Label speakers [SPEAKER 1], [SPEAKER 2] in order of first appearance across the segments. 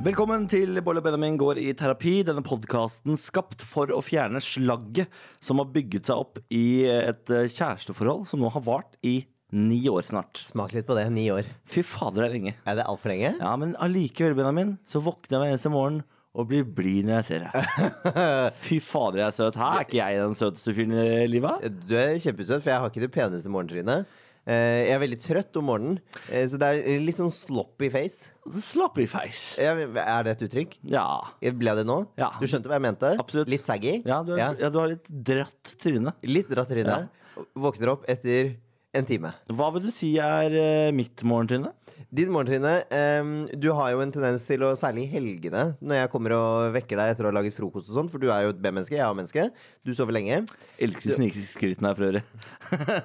[SPEAKER 1] Velkommen til Bolle og Benjamin går i terapi. Denne podkasten skapt for å fjerne slagget som har bygget seg opp i et eh, kjæresteforhold som nå har vart i ni år snart.
[SPEAKER 2] Smak litt på det. Ni år.
[SPEAKER 1] Fy fader, det er lenge.
[SPEAKER 2] Er det altfor lenge?
[SPEAKER 1] Ja, men allikevel, Benjamin, så våkner jeg hver eneste morgen og blir blid når jeg ser deg. Fy fader, jeg er søt. Hæ, er ikke jeg den søteste fyren i livet?
[SPEAKER 2] Du er kjempesøt, for jeg har ikke det peneste morgentrynet. Eh, Jeg er veldig trøtt om morgenen, eh, så det er litt sånn sloppy face.
[SPEAKER 1] Slapp i feis.
[SPEAKER 2] Jeg- Er det et uttrykk?
[SPEAKER 1] Ja.
[SPEAKER 2] Ble det nå?
[SPEAKER 1] Ja.
[SPEAKER 2] Du skjønte hva jeg mente?
[SPEAKER 1] Absolutt.
[SPEAKER 2] Litt saggy?
[SPEAKER 1] Ja, du, er, ja. du har litt dratt tryne.
[SPEAKER 2] Litt dratt tryne. Våkner opp etter en time.
[SPEAKER 1] Hva vil du si er eh, mitt morgentryne?
[SPEAKER 2] Ditt morgentryne, eh, du har jo en tendens til å, særlig i helgene, når jeg kommer og vekker deg etter å ha laget frokost og sånn, for du er jo et B-menneske, jeg er A-menneske, du sover lenge.
[SPEAKER 1] Elsker snikskryten her for øvrig.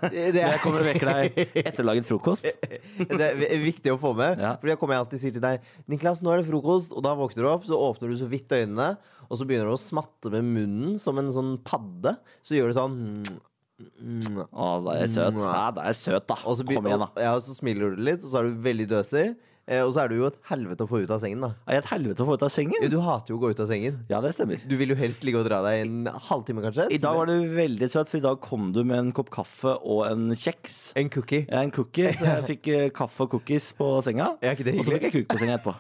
[SPEAKER 2] Det- det
[SPEAKER 1] Når
[SPEAKER 2] er-
[SPEAKER 1] jeg kommer og vekker deg etter laget frokost.
[SPEAKER 2] Det er v- viktig å få med.
[SPEAKER 1] Ja.
[SPEAKER 2] Fordi jeg kommer alltid og sier til deg Niklas, nå er det frokost. Og da våkner du opp, så åpner du så vidt øynene, og så begynner du å smatte med munnen som en sånn padde. Så gjør du sånn
[SPEAKER 1] Å, da er jeg søt. Ja, da er jeg søt, da.
[SPEAKER 2] Og så,
[SPEAKER 1] Kom igjen, da.
[SPEAKER 2] ja, og så smiler du litt, og så er du veldig døsig. Eh, og så er du jo et helvete å få ut av sengen, da.
[SPEAKER 1] Er jeg et helvete å få ut av
[SPEAKER 2] Ja,
[SPEAKER 1] sengen?
[SPEAKER 2] Du hater jo å gå ut av sengen.
[SPEAKER 1] Ja, det stemmer.
[SPEAKER 2] Du vil jo helst ligge og dra deg en halvtime, kanskje.
[SPEAKER 1] I dag var du veldig søt, for i dag kom du med en kopp kaffe og en kjeks.
[SPEAKER 2] En cookie.
[SPEAKER 1] Ja, En cookie, så jeg fikk eh, kaffe og cookies på senga.
[SPEAKER 2] Er ikke det
[SPEAKER 1] Og så fikk
[SPEAKER 2] hyggelig?
[SPEAKER 1] jeg kuk på senga etterpå.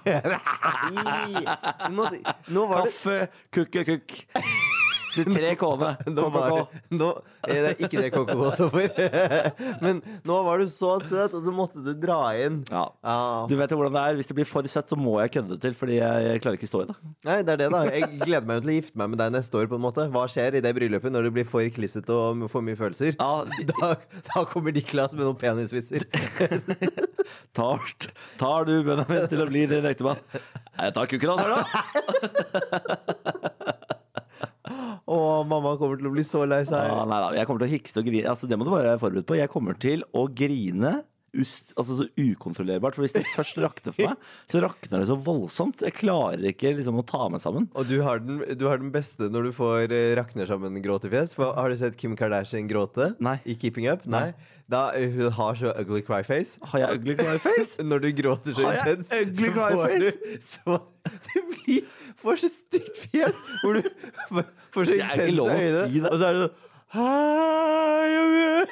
[SPEAKER 2] Nei! Du må- Nå var det
[SPEAKER 1] Kaffe, kukke, kukk. De tre k-ene.
[SPEAKER 2] Nå var, nå, eh, det er ikke det KKK står for. Men nå var du så søt, og så måtte du dra inn.
[SPEAKER 1] Ja.
[SPEAKER 2] Ja.
[SPEAKER 1] Du vet jo hvordan det er. Hvis det blir for søtt, så må jeg kødde det til, fordi jeg, jeg klarer ikke stå i det.
[SPEAKER 2] Nei, det er det, da. Jeg gleder meg jo til å gifte meg med deg neste år. på en måte Hva skjer i det bryllupet når det blir for klissete og m- for mye følelser?
[SPEAKER 1] Ja,
[SPEAKER 2] Da, da kommer Niklas med noen penisvitser.
[SPEAKER 1] tar, tar du Benjamin til å bli din ektemann? Nei, jeg tar kukken hans her, da.
[SPEAKER 2] Å, mamma kommer til å bli så lei
[SPEAKER 1] Ja,
[SPEAKER 2] seg.
[SPEAKER 1] Ah, nei da, jeg kommer til å hikste og grine. Altså, det må du bare være forberedt på. Jeg kommer til å grine ust, altså, så ukontrollerbart. For hvis det først rakner for meg, så rakner det så voldsomt. Jeg klarer ikke liksom, å ta meg sammen.
[SPEAKER 2] Og du har, den, du har den beste når du får eh, rakner sammen gråtefjes. For Har du sett Kim Kardashian gråte
[SPEAKER 1] Nei.
[SPEAKER 2] i Keeping Up? Nei. Da, eh, hun har så ugly cry face.
[SPEAKER 1] Har jeg ugly cry face?
[SPEAKER 2] Når du gråter så
[SPEAKER 1] Har jeg
[SPEAKER 2] intenst,
[SPEAKER 1] ugly
[SPEAKER 2] så
[SPEAKER 1] cry
[SPEAKER 2] får
[SPEAKER 1] face?
[SPEAKER 2] du så Det blir får så stygt fjes hvor du får så
[SPEAKER 1] Det er ikke lov å
[SPEAKER 2] intense øyne,
[SPEAKER 1] si det.
[SPEAKER 2] og så er du sånn Hei, jeg vet».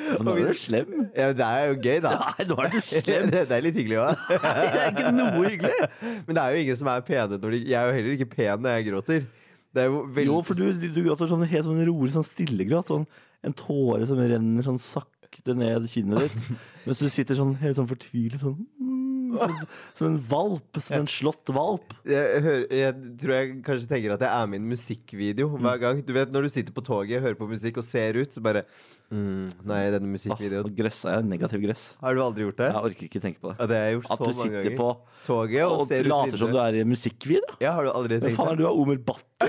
[SPEAKER 1] Men sånn, nå er du slem.
[SPEAKER 2] ja, men Det er jo gøy, da.
[SPEAKER 1] Nei, nå er du slem.
[SPEAKER 2] Det, det er litt hyggelig òg.
[SPEAKER 1] Nei, det er ikke noe hyggelig.
[SPEAKER 2] Men det er jo ingen som er pene når de Jeg er jo heller ikke pen når jeg gråter. Det er jo veldig
[SPEAKER 1] Jo, for du, du gråter sånn helt sånn rolig, sånn stillegråt. Sånn, en tåre som renner sånn sakte ned kinnet ditt. Mens du sitter sånn helt sånn fortvilet, sånn mm, som, som en valp. Som en slått valp.
[SPEAKER 2] jeg, hører, jeg tror jeg kanskje tenker at jeg er med i en musikkvideo
[SPEAKER 1] Mm.
[SPEAKER 2] hver gang. Du vet når du sitter på toget, hører på musikk og ser ut, så bare mm, Nei, denne
[SPEAKER 1] Nå
[SPEAKER 2] musikkvideoen.
[SPEAKER 1] grøssa jeg. Negativ Ah, grøss.
[SPEAKER 2] Har du aldri gjort det?
[SPEAKER 1] Jeg orker ikke tenke på
[SPEAKER 2] Ja,
[SPEAKER 1] det.
[SPEAKER 2] det har jeg gjort
[SPEAKER 1] At
[SPEAKER 2] så
[SPEAKER 1] du
[SPEAKER 2] mange
[SPEAKER 1] sitter
[SPEAKER 2] ganger.
[SPEAKER 1] på
[SPEAKER 2] toget og,
[SPEAKER 1] og
[SPEAKER 2] ser ut
[SPEAKER 1] later som du er i en musikkvideo.
[SPEAKER 2] Ja, har du aldri
[SPEAKER 1] Hvem
[SPEAKER 2] tenkt
[SPEAKER 1] faen er du,
[SPEAKER 2] det?
[SPEAKER 1] da? Omer Batti?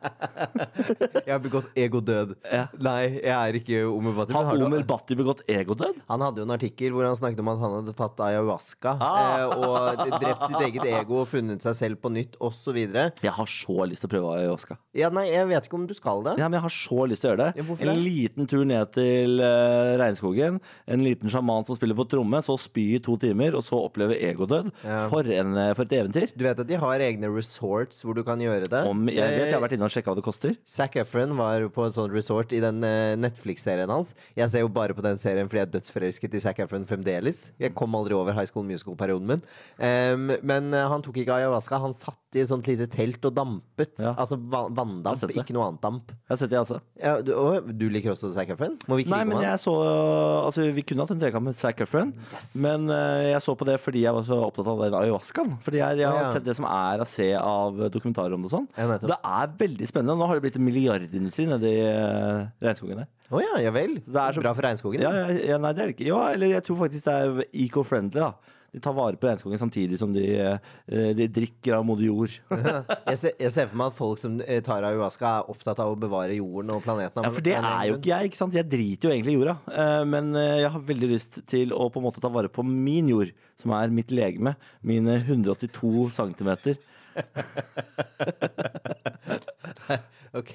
[SPEAKER 2] Jeg har begått egodød.
[SPEAKER 1] Ja.
[SPEAKER 2] Nei, jeg er ikke Omer Bhatti. men
[SPEAKER 1] Har
[SPEAKER 2] du-
[SPEAKER 1] Omer Batti begått egodød?
[SPEAKER 2] Han hadde jo en artikkel hvor han snakket om at han hadde tatt ayahuasca
[SPEAKER 1] Ah.
[SPEAKER 2] eh, og drept sitt eget ego og funnet seg selv på nytt osv.
[SPEAKER 1] Jeg har så lyst til å prøve ayahuasca.
[SPEAKER 2] Ja, nei, jeg vet ikke om du skal det.
[SPEAKER 1] Ja, men jeg har så lyst til å gjøre det.
[SPEAKER 2] Ja, hvorfor
[SPEAKER 1] en
[SPEAKER 2] det?
[SPEAKER 1] liten tur ned til eh, regnskogen. En liten sjaman som spiller på tromme, så spy i to timer, og så oppleve egodød.
[SPEAKER 2] Ja.
[SPEAKER 1] For, en, eh, for et eventyr.
[SPEAKER 2] Du vet at de har egne resorts hvor du kan gjøre det?
[SPEAKER 1] Om, jeg vet jeg har
[SPEAKER 2] Eh,
[SPEAKER 1] vært inne og sjekka hva det koster.
[SPEAKER 2] Zac Efron var på en sånn resort i den eh, Netflix-serien hans. Jeg ser jo bare på den serien fordi jeg er dødsforelsket i Zac Efron fremdeles. Jeg kom aldri over high school musical-perioden min. Em, men eh, han tok ikke ayahuasca. Han satt i et sånt lite telt og dampet.
[SPEAKER 1] Ja.
[SPEAKER 2] Altså va-
[SPEAKER 1] Jeg har
[SPEAKER 2] vanndamp,
[SPEAKER 1] sett det.
[SPEAKER 2] ikke noe annet damp.
[SPEAKER 1] Jeg har sett det, altså.
[SPEAKER 2] Ja, du, å, du liker også Zac Efron? Må vi
[SPEAKER 1] Nei,
[SPEAKER 2] krige om
[SPEAKER 1] men
[SPEAKER 2] han?
[SPEAKER 1] jeg så Altså, vi kunne hatt en trekamp med Zac Efron, men eh, jeg så på det fordi jeg var så opptatt av den ayahuascaen. Fordi jeg, jeg har
[SPEAKER 2] Å, ja.
[SPEAKER 1] sett det som er å se av dokumentarer om det og sånn.
[SPEAKER 2] Ja, nettopp.
[SPEAKER 1] det er veldig spennende. Nå har det blitt en milliardindustri nede i eh, regnskogen der.
[SPEAKER 2] Å ja, ja vel.
[SPEAKER 1] er så-
[SPEAKER 2] Bra for regnskogen.
[SPEAKER 1] Ja, ja, ja, nei, det er det ikke. Ja, eller jeg tror faktisk det er eco-friendly, da. De tar vare på regnskogen samtidig som de, eh, de drikker av moder jord.
[SPEAKER 2] Jeg, ser, jeg ser for meg at folk som eh, tar ayahuasca, er opptatt av å bevare jorden og planeten. av
[SPEAKER 1] Ja, for det
[SPEAKER 2] en eller
[SPEAKER 1] er
[SPEAKER 2] annen
[SPEAKER 1] jo
[SPEAKER 2] grunn.
[SPEAKER 1] ikke jeg, ikke sant? Jeg driter jo egentlig i jorda. Eh, Men eh, jeg har veldig lyst til å på en måte ta vare på min jord, som er mitt legeme. Mine 182 centimeter.
[SPEAKER 2] Ok,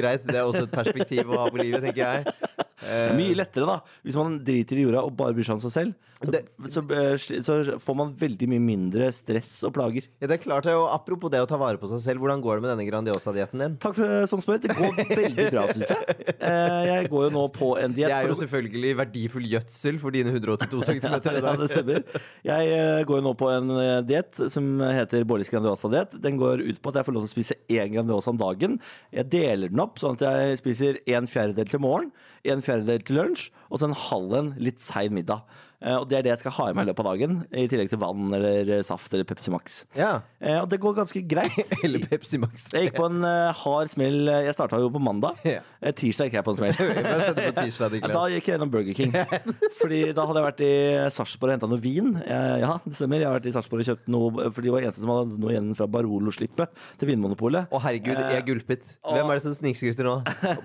[SPEAKER 2] greit. Det er også et perspektiv å ha på livet, tenker jeg. Eh,
[SPEAKER 1] Det er mye lettere, da. Hvis man driter i jorda og bare bryr seg om seg selv, så,
[SPEAKER 2] Det-
[SPEAKER 1] så, eh, sli- så får man veldig mye mindre stress og plager.
[SPEAKER 2] Ja, det er klart, det, og Apropos det å ta vare på seg selv, hvordan går det med denne Grandiosa-dietten din?
[SPEAKER 1] Takk for eh, som spør. Det går veldig bra, syns jeg. Eh, Jeg går jo nå på en
[SPEAKER 2] Det
[SPEAKER 1] diett. for
[SPEAKER 2] er jo
[SPEAKER 1] å-
[SPEAKER 2] selvfølgelig verdifull gjødsel for dine 182 cm.
[SPEAKER 1] Ja, det stemmer. Jeg eh, går jo nå på en eh, diett som heter Bårlis Grandiosa-diett. Den går ut på at jeg får lov til å spise én Grandiosa om dagen. Jeg deler den opp, sånn at jeg spiser en fjerdedel til morgen, en fjerdedel til lunsj, og så en halv en litt sein middag. Eh, Og det er det jeg skal ha i meg i løpet av dagen, i tillegg til vann eller eh, saft eller Pepsi Max.
[SPEAKER 2] Ja.
[SPEAKER 1] Eh, Og det går ganske greit.
[SPEAKER 2] Eller Pepsi Max.
[SPEAKER 1] Jeg gikk på en eh, hard smell. Jeg starta jo på mandag.
[SPEAKER 2] Ja.
[SPEAKER 1] Eh, Tirsdag gikk jeg på en smell.
[SPEAKER 2] Hva skjedde på tirsdag,
[SPEAKER 1] Ja,
[SPEAKER 2] Niklas?
[SPEAKER 1] da gikk jeg gjennom Burger King. Fordi da hadde jeg vært i Sarpsborg og henta noe vin. Eh, Ja, det stemmer. Jeg har vært i Sarpsborg og kjøpt noe, eh, for de var eneste som hadde noe igjen fra Barolo-slippet til Vinmonopolet.
[SPEAKER 2] Å, herregud,
[SPEAKER 1] Eh,
[SPEAKER 2] jeg gulpet.
[SPEAKER 1] og-
[SPEAKER 2] Hvem er det som snikskryter nå?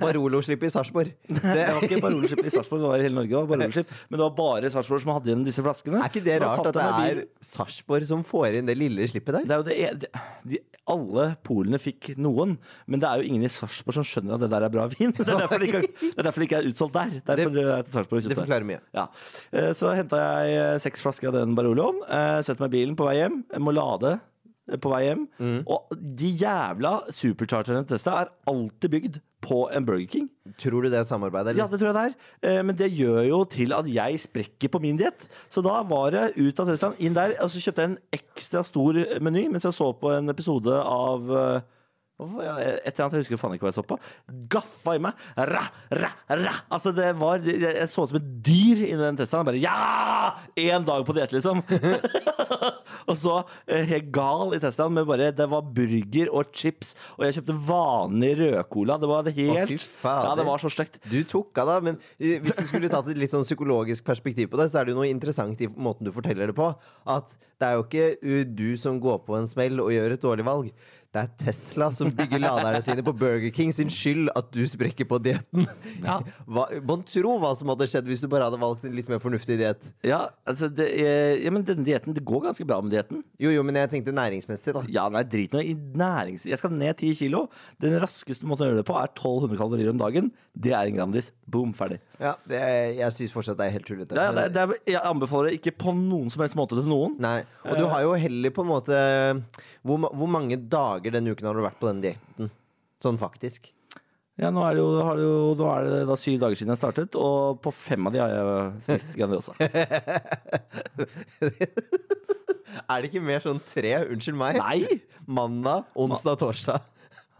[SPEAKER 2] Barolo-slippet i Sarpsborg. Det
[SPEAKER 1] Det var ikke Barolo-slippet i Sarpsborg, det var i hele Norge. Det var Barolo-slipp. Men det var bare Sarpsborg som hadde igjen disse flaskene.
[SPEAKER 2] Er ikke det
[SPEAKER 1] Så da
[SPEAKER 2] rart
[SPEAKER 1] satt
[SPEAKER 2] at det
[SPEAKER 1] jeg meg i
[SPEAKER 2] er
[SPEAKER 1] bilen.
[SPEAKER 2] Sarpsborg som får inn det lille slippet der?
[SPEAKER 1] det er jo det, e- de, de, Alle polene fikk noen, men det er jo ingen i Sarpsborg som skjønner at det der er bra vin. Det er derfor det ikke, er- det er derfor det ikke er utsolgt der. Derfor det, er til Sarpsborg og
[SPEAKER 2] Det
[SPEAKER 1] kjøpte.
[SPEAKER 2] forklarer mye.
[SPEAKER 1] Ja. Eh, Så henta jeg eh, seks flasker av den Baroloen. eh, Setter meg i bilen på vei hjem. Jeg må lade eh, på vei hjem. Og de jævla superchargerne til Tesla er alltid bygd på en Burger King.
[SPEAKER 2] Tror du det er et samarbeid,
[SPEAKER 1] Ja,
[SPEAKER 2] eller?
[SPEAKER 1] det tror jeg det er. Eh, Men det gjør jo til at jeg sprekker på min diett. Så da var det ut av Teslaen, inn der, og så kjøpte jeg en ekstra stor meny mens jeg så på en episode av eh, hva var det? et eller annet, jeg husker faen ikke hva jeg så på. Gaffa i meg. Ra, ra, ra. Altså, det var Jeg jeg så ut som et dyr inni den Teslaen. Bare ja! Én dag på diett, liksom. Og så eh, helt gal i Teslaen med bare Det var burger og chips, og jeg kjøpte vanlig rødcola. Det var det helt
[SPEAKER 2] fy fader.
[SPEAKER 1] Ja, det var så stygt.
[SPEAKER 2] Du tok av, da. Men eh, hvis du skulle tatt et litt sånn psykologisk perspektiv på det, så er det jo noe interessant i måten du forteller det på. At det er jo ikke eh, du som går på en smell og gjør et dårlig valg. Det er Tesla som bygger laderne sine på Burger King sin skyld at du sprekker på dietten.
[SPEAKER 1] Ja.
[SPEAKER 2] Mon tro hva som hadde skjedd hvis du bare hadde valgt en litt mer fornuftig diett.
[SPEAKER 1] Ja, altså det, eh, ja, men denne dieten, det går ganske bra med dieten.
[SPEAKER 2] Jo, jo, men jeg tenkte næringsmessig, da.
[SPEAKER 1] Ja, nei, drit nå i nærings... Jeg skal ned 10 kilo. Den raskeste måten å gjøre det på er 1200 kalorier om dagen. Det er en Grandis. Boom, ferdig.
[SPEAKER 2] Ja, det, jeg syns fortsatt det er helt tullete.
[SPEAKER 1] Ja, ja, det,
[SPEAKER 2] men-
[SPEAKER 1] det, er- jeg anbefaler det ikke på noen som helst måte til noen.
[SPEAKER 2] Nei, Og du har jo heller på en måte Hvor, ma- hvor mange dager denne uken har du vært på den dietten? Sånn faktisk.
[SPEAKER 1] Ja, nå er det jo, har det jo nå er det da syv dager siden jeg startet, og på fem av de har jeg spist Grandiosa.
[SPEAKER 2] Er det ikke mer sånn tre? Unnskyld meg.
[SPEAKER 1] Nei!
[SPEAKER 2] Mandag, onsdag, torsdag.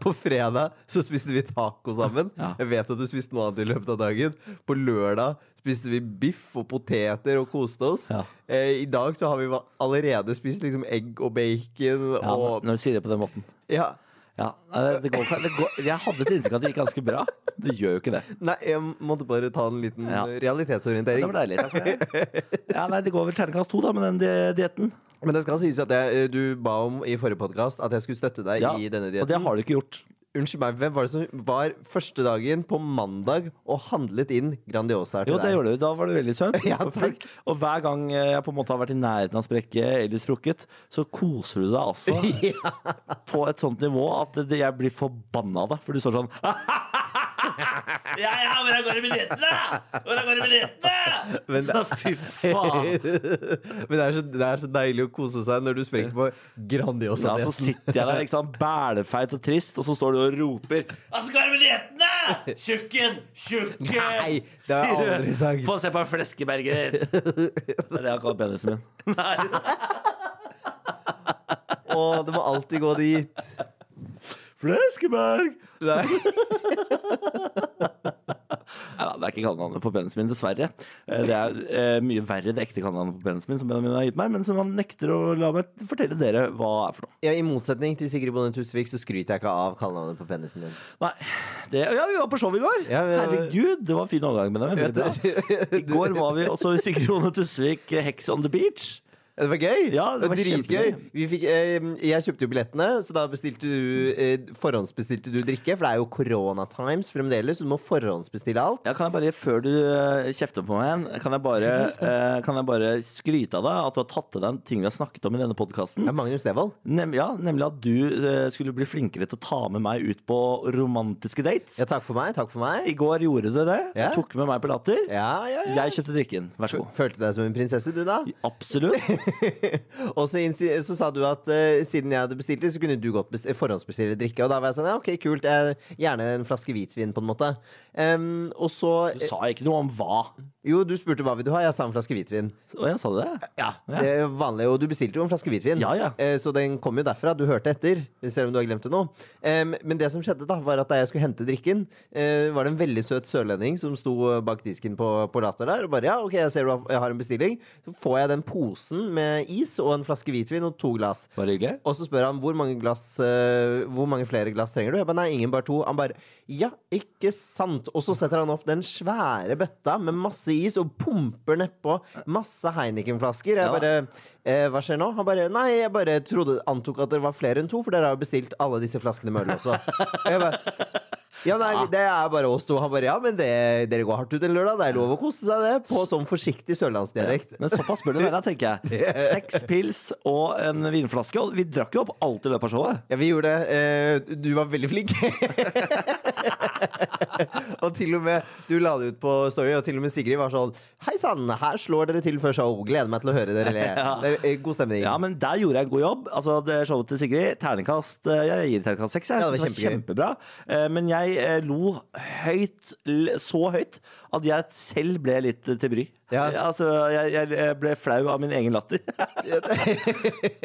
[SPEAKER 2] På fredag så spiste vi taco sammen.
[SPEAKER 1] Ja.
[SPEAKER 2] Jeg vet at du spiste noe annet i løpet av dagen. På lørdag spiste vi biff og poteter og koste oss.
[SPEAKER 1] Ja.
[SPEAKER 2] Eh, I dag så har vi va- allerede spist liksom egg og bacon
[SPEAKER 1] Ja,
[SPEAKER 2] og
[SPEAKER 1] når du sier det på den måten.
[SPEAKER 2] Ja.
[SPEAKER 1] Ja, nei, det går, det går, jeg hadde et inntrykk av at det gikk ganske bra. Det gjør jo ikke det.
[SPEAKER 2] Nei, jeg måtte bare ta en liten
[SPEAKER 1] Ja.
[SPEAKER 2] realitetsorientering.
[SPEAKER 1] Det var deilig. Takk for det. Ja, nei, det går vel terningkast to, da, med den di- dietten.
[SPEAKER 2] Men det skal sies at jeg, eh, du ba om i forrige podkast at jeg skulle støtte deg
[SPEAKER 1] Ja,
[SPEAKER 2] i denne
[SPEAKER 1] Og det
[SPEAKER 2] dietten.
[SPEAKER 1] har du ikke gjort.
[SPEAKER 2] Unnskyld meg, hvem var det som var første dagen på mandag og handlet inn Grandiosa til
[SPEAKER 1] Jo, det
[SPEAKER 2] deg?
[SPEAKER 1] gjorde du. Da var du veldig søt.
[SPEAKER 2] Ja,
[SPEAKER 1] og flink. Og hver gang eh, jeg på en måte har vært i nærheten av å sprekke eller sprukket, så koser du deg altså på et sånt nivå at det- jeg blir forbanna av deg. For du står sånn Ja, ja, hvordan går det med diettene? Hvordan går det med diettene?
[SPEAKER 2] Men det-
[SPEAKER 1] Så fy faen.
[SPEAKER 2] Men det er, så, det er så deilig å kose seg når du sprekker på
[SPEAKER 1] Ja, så
[SPEAKER 2] Grandiosa-dietten.
[SPEAKER 1] sitter jeg der ikke sant, bælefeit og trist, og så står du og roper Altså, hva er det med diettene? Tjukken! Tjukken!
[SPEAKER 2] Nei, det har jeg
[SPEAKER 1] sier du.
[SPEAKER 2] aldri sagt.
[SPEAKER 1] Få se på en fleskeberger! Det er det jeg har kalt penisen min.
[SPEAKER 2] Å, det må alltid gå dit.
[SPEAKER 1] Fleskeberg!
[SPEAKER 2] Nei.
[SPEAKER 1] Nei da, det er ikke kallenavnet på penisen min, dessverre. Eh, Det er eh, mye verre det ekte kallenavnet på penisen min, som Benjamin har gitt meg, men som han nekter å la meg fortelle dere hva er for noe.
[SPEAKER 2] Ja, I motsetning til Sigrid Bonde Tusvik så skryter jeg ikke av kallenavnet på penisen din.
[SPEAKER 1] Nei, det, ja, vi var på show i går!
[SPEAKER 2] Ja, vi-
[SPEAKER 1] Herregud, det var en fin overgang, Benjamin. Veldig bra. I går var vi også i Sigrid Bonde Tusvik, eh, Hex on the Beach.
[SPEAKER 2] Det var gøy!
[SPEAKER 1] Ja, det var
[SPEAKER 2] Dritgøy.
[SPEAKER 1] kjempegøy.
[SPEAKER 2] Vi fikk, eh, jeg kjøpte jo billettene, så da bestilte du eh, forhåndsbestilte du drikke. For det er jo koronatimes fremdeles, så du må forhåndsbestille alt.
[SPEAKER 1] Ja, kan jeg bare, Før du eh, kjefter på meg, igjen, kan jeg bare, eh, kan jeg bare skryte av deg at du har tatt til deg ting vi har snakket om i denne podkasten.
[SPEAKER 2] Det er Magnus Devold.
[SPEAKER 1] Nem, ja, nemlig at du eh, skulle bli flinkere til å ta med meg ut på romantiske dates.
[SPEAKER 2] Ja, takk for meg. Takk for meg.
[SPEAKER 1] I går gjorde du det.
[SPEAKER 2] Ja.
[SPEAKER 1] Du tok med meg på latter.
[SPEAKER 2] Ja, ja, ja.
[SPEAKER 1] Jeg kjøpte drikken. Vær så god.
[SPEAKER 2] Følte deg som en prinsesse, du, da?
[SPEAKER 1] Absolutt.
[SPEAKER 2] Og så, innsi- så sa du at eh, siden jeg hadde bestilt det, så kunne du godt bes- forhåndsbestille drikke. Og da var jeg sånn, ja, ok, kult. Jeg, gjerne en flaske hvitvin, på en måte. Em, og så
[SPEAKER 1] Du sa ikke noe om hva.
[SPEAKER 2] Jo, du spurte hva vil du ha. Jeg sa en flaske hvitvin.
[SPEAKER 1] Og jeg sa det. Ja.
[SPEAKER 2] Det er vanlig, og du bestilte jo en flaske hvitvin,
[SPEAKER 1] Ja, ja.
[SPEAKER 2] Eh, så den kom jo derfra. Du hørte etter, selv om du har glemt det nå. Em, men det som skjedde, da, var at da jeg skulle hente drikken, eh, var det en veldig søt sørlending som sto bak disken på, på Latter der og bare ja, OK, jeg ser du har, jeg har en bestilling. Så får jeg den posen med is og en flaske hvitvin og to glass.
[SPEAKER 1] Bare hyggelig.
[SPEAKER 2] Og så spør han hvor mange, glass, eh, hvor mange flere glass trenger du? Jeg bare nei, ingen, bare to. Han bare ja, ikke sant. Og så setter han opp den svære bøtta med masse is og pumper nedpå masse Heineken-flasker. Jeg
[SPEAKER 1] Ja.
[SPEAKER 2] bare eh, hva skjer nå? Han bare nei, jeg bare trodde, antok at det var flere enn to, for dere har jo bestilt alle disse flaskene med øl også. Og jeg bare ja, nei, det er bare oss to. Han bare ja, men det, dere går hardt ut en lørdag. Det er lov å kose seg, det. På sånn forsiktig sørlandsdialekt.
[SPEAKER 1] Men såpass bør det være, tenker jeg. Seks pils og en vinflaske. Og vi drakk jo opp alt i løpet av showet.
[SPEAKER 2] Ja, vi gjorde det. Eh, Du var veldig flink. og til og med du la det ut på Story, og til og med Sigrid var sånn Hei sann, her slår dere til før show. Gleder meg til å høre dere le. Det er, eh, God stemning.
[SPEAKER 1] Ja, men der gjorde jeg en god jobb. Altså, det Showet til Sigrid, terningkast eh, Jeg gir terningkast seks. Jeg
[SPEAKER 2] Ja, det
[SPEAKER 1] synes
[SPEAKER 2] var
[SPEAKER 1] det var kjempebra. Eh, Men jeg eh, lo høyt, l- så høyt, at jeg selv ble litt eh, til bry.
[SPEAKER 2] Ja.
[SPEAKER 1] Altså, jeg, jeg ble flau av min egen latter.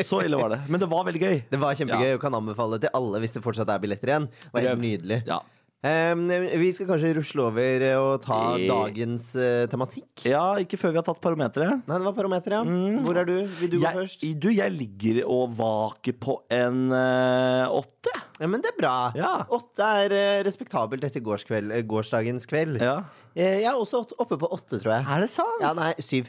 [SPEAKER 1] Så ille var det. Men det var veldig gøy.
[SPEAKER 2] Det var kjempegøy og kan anbefale til alle hvis det fortsatt er billetter igjen. Det var helt
[SPEAKER 1] Prøv.
[SPEAKER 2] nydelig.
[SPEAKER 1] Ja.
[SPEAKER 2] Eh, vi skal kanskje rusle over eh, og ta
[SPEAKER 1] Eh.
[SPEAKER 2] dagens eh, tematikk.
[SPEAKER 1] ja, ikke før vi har tatt barometeret.
[SPEAKER 2] Nei, det var Parometer, ja. Hvor er du? Vil du gå
[SPEAKER 1] Mm. Jeg,
[SPEAKER 2] først?
[SPEAKER 1] du, jeg ligger og vaker på en eh, åtte.
[SPEAKER 2] Ja, men det er bra.
[SPEAKER 1] Ja.
[SPEAKER 2] Åtte er eh, respektabelt etter gårdskveld, eh, gårsdagens kveld.
[SPEAKER 1] Ja.
[SPEAKER 2] Eh, Jeg er også åt- oppe på åtte, tror jeg.
[SPEAKER 1] Er det sant?
[SPEAKER 2] Ja, nei, syv.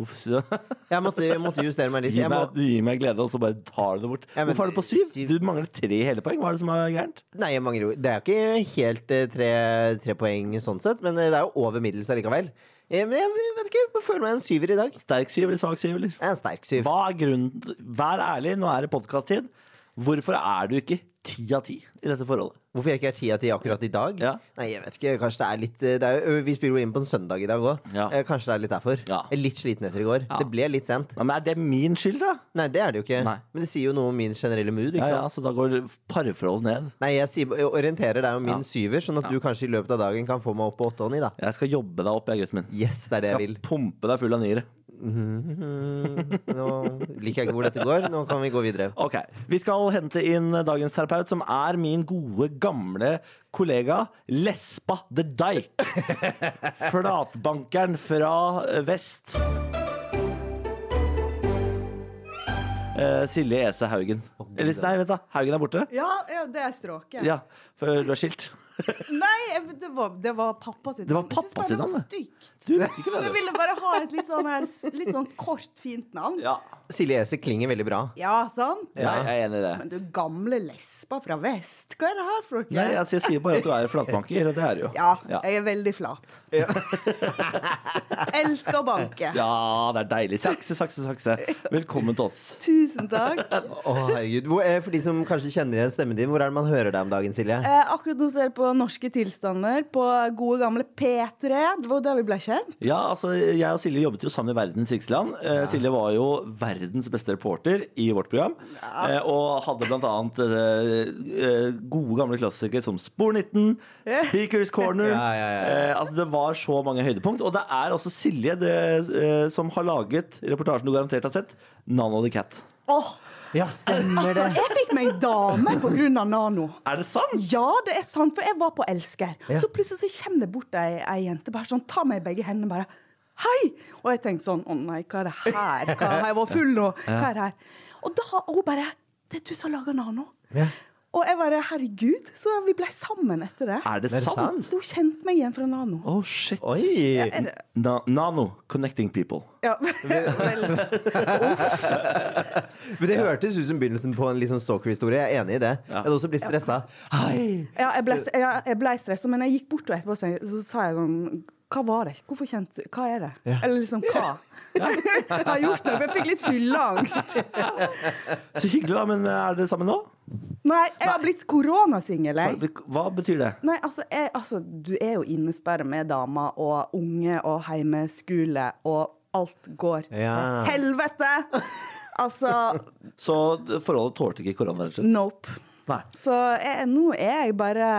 [SPEAKER 1] Uff, sier du.
[SPEAKER 2] Jeg måtte, jeg måtte justere meg litt.
[SPEAKER 1] Gi
[SPEAKER 2] Jeg
[SPEAKER 1] meg,
[SPEAKER 2] må,
[SPEAKER 1] du gir meg glede, og så bare tar du det bort.
[SPEAKER 2] Ja, men
[SPEAKER 1] Hvorfor er du på syv?
[SPEAKER 2] syv-
[SPEAKER 1] Du mangler tre hele poeng. Hva er det som er gærent?
[SPEAKER 2] nei, jeg mangler jo Det er jo ikke helt eh, tre, tre poeng sånn sett, men eh, det er jo over middels allikevel. Eh, Men jeg vet ikke, jeg føler meg en syver i dag.
[SPEAKER 1] Sterk syv eller svak syv, eller?
[SPEAKER 2] Jeg er en sterk syv.
[SPEAKER 1] Hva er grunnen Vær ærlig, nå er det podkast-tid. Hvorfor er du ikke ti av ti i dette forholdet?
[SPEAKER 2] Hvorfor jeg ikke er ti av ti akkurat i dag?
[SPEAKER 1] Ja.
[SPEAKER 2] Nei, jeg vet ikke. Kanskje det er litt eh, det er, jo- Vi spiller jo inn på en søndag i dag òg.
[SPEAKER 1] Ja.
[SPEAKER 2] Kanskje det er litt derfor.
[SPEAKER 1] Ja.
[SPEAKER 2] Jeg er litt sliten etter i går.
[SPEAKER 1] Ja.
[SPEAKER 2] Det ble litt sent.
[SPEAKER 1] Nei, men Er det min skyld, da?
[SPEAKER 2] Nei, det er det jo ikke.
[SPEAKER 1] Nei.
[SPEAKER 2] Men det sier jo noe om min generelle mood. ikke
[SPEAKER 1] Ja,
[SPEAKER 2] sant?
[SPEAKER 1] ja, Så da går parforholdet ned.
[SPEAKER 2] Nei, jeg, sier, jeg orienterer deg om min
[SPEAKER 1] Ja.
[SPEAKER 2] syver, sånn at du kanskje i løpet av dagen kan få meg opp på åtte og ni, da.
[SPEAKER 1] Jeg skal jobbe deg opp, jeg, gutten min.
[SPEAKER 2] Yes, det er det jeg vil.
[SPEAKER 1] Skal pumpe deg full av niere.
[SPEAKER 2] Mhm. Nå liker jeg ikke hvor dette går. Nå kan vi gå videre.
[SPEAKER 1] Ok, Vi skal hente inn dagens terapeut, som er min gode, gamle kollega Lespa the Dike. Flatbankeren fra vest. Eh, Silje Ese Haugen. Eller, nei, vent, da. Haugen er borte?
[SPEAKER 3] Ja, ja, det er stråket.
[SPEAKER 1] Ja, for du er skilt.
[SPEAKER 3] Nei, jeg- det var, det var pappa sitt
[SPEAKER 1] Det var
[SPEAKER 3] navn. Jeg synes
[SPEAKER 1] pappa sitt
[SPEAKER 3] bare det var
[SPEAKER 1] navn,
[SPEAKER 3] stygt.
[SPEAKER 1] Du vet ikke
[SPEAKER 3] Så
[SPEAKER 1] hvem
[SPEAKER 3] jeg ville bare ha et litt sånn, her, s- litt sånn kort, fint navn.
[SPEAKER 1] Ja,
[SPEAKER 2] Silje Ese klinger veldig bra.
[SPEAKER 3] Ja, sant?
[SPEAKER 1] ja, jeg er enig i det.
[SPEAKER 3] Men du gamle lesba fra vest, hva er det her for noe?
[SPEAKER 1] Nei, altså, jeg sier bare at du er flatbanker, og det er du jo.
[SPEAKER 3] Ja,
[SPEAKER 1] ja.
[SPEAKER 3] jeg er veldig flat. Elsker å banke.
[SPEAKER 1] Ja, det er deilig. Sakse, sakse, sakse. Velkommen til oss.
[SPEAKER 3] Tusen takk.
[SPEAKER 2] Å, herregud. Hvor, eh, for de som kanskje kjenner igjen stemmen din, hvor er det man hører deg om dagen, Silje?
[SPEAKER 3] Eh, akkurat nå ser jeg på Norske tilstander på gode gamle P3. Det var der vi ble kjent.
[SPEAKER 1] Ja, altså Jeg og Silje jobbet jo sammen i Verdens rikeste Eh, Silje var jo verdens beste reporter i vårt program. Eh, og hadde blant annet eh, eh, gode, gamle klassikere som Spor 19, Speakers Corner
[SPEAKER 2] Ja, ja, ja.
[SPEAKER 1] Eh, Altså Det var så mange høydepunkt. Og det er også Silje det, eh, som har laget reportasjen du garantert har sett, 'Nano the Cat'.
[SPEAKER 3] Åh,
[SPEAKER 2] Ja, stemmer
[SPEAKER 3] altså,
[SPEAKER 2] det!
[SPEAKER 3] jeg fikk meg dame på grunn av Nano.
[SPEAKER 1] Er det sant?
[SPEAKER 3] Ja, det er sant, for jeg var på Elsker.
[SPEAKER 2] Ja.
[SPEAKER 3] Så plutselig så kommer det bort ei, ei jente bare sånn, ta meg i begge hendene bare, hei! Og jeg tenkte sånn, å nei, hva er det her? Hva, har jeg vært full nå, hva er det her? Og da, og hun bare, det er du som lager Nano.
[SPEAKER 2] Ja.
[SPEAKER 3] Og jeg bare Herregud! Så vi ble sammen etter det.
[SPEAKER 1] Er det
[SPEAKER 2] Er det
[SPEAKER 1] sant?
[SPEAKER 2] sant?
[SPEAKER 3] Du kjente meg igjen fra Nano.
[SPEAKER 1] Oh, shit.
[SPEAKER 2] Oi!
[SPEAKER 1] Na Nano, connecting people.
[SPEAKER 3] Ja, vel.
[SPEAKER 2] Men det hørtes ut som begynnelsen på en litt sånn stalker-historie. Jeg er enig i det. Jeg hadde også blitt stressa. Hei!
[SPEAKER 3] Ja, jeg ble, ja, jeg ble stressa, men jeg gikk bort og etterpå så, så sa jeg sånn Hva var det? Hvorfor kjente Hva er det? Eller liksom hva? jeg har gjort noe, men jeg fikk litt fylleangst.
[SPEAKER 1] Så hyggelig, da. Men eh, er dere sammen nå?
[SPEAKER 3] Nei, jeg har blitt koronasingel, jeg.
[SPEAKER 1] Hva betyr det?
[SPEAKER 3] Nei, altså, jeg, altså, du er jo innesperret med damer og unge og heimeskole, og alt går
[SPEAKER 2] Ja.
[SPEAKER 3] til helvete! Altså,
[SPEAKER 1] Så forholdet tålte ikke korona, rett og slett?
[SPEAKER 3] nope.
[SPEAKER 1] Nei.
[SPEAKER 3] Så jeg, nå er jeg bare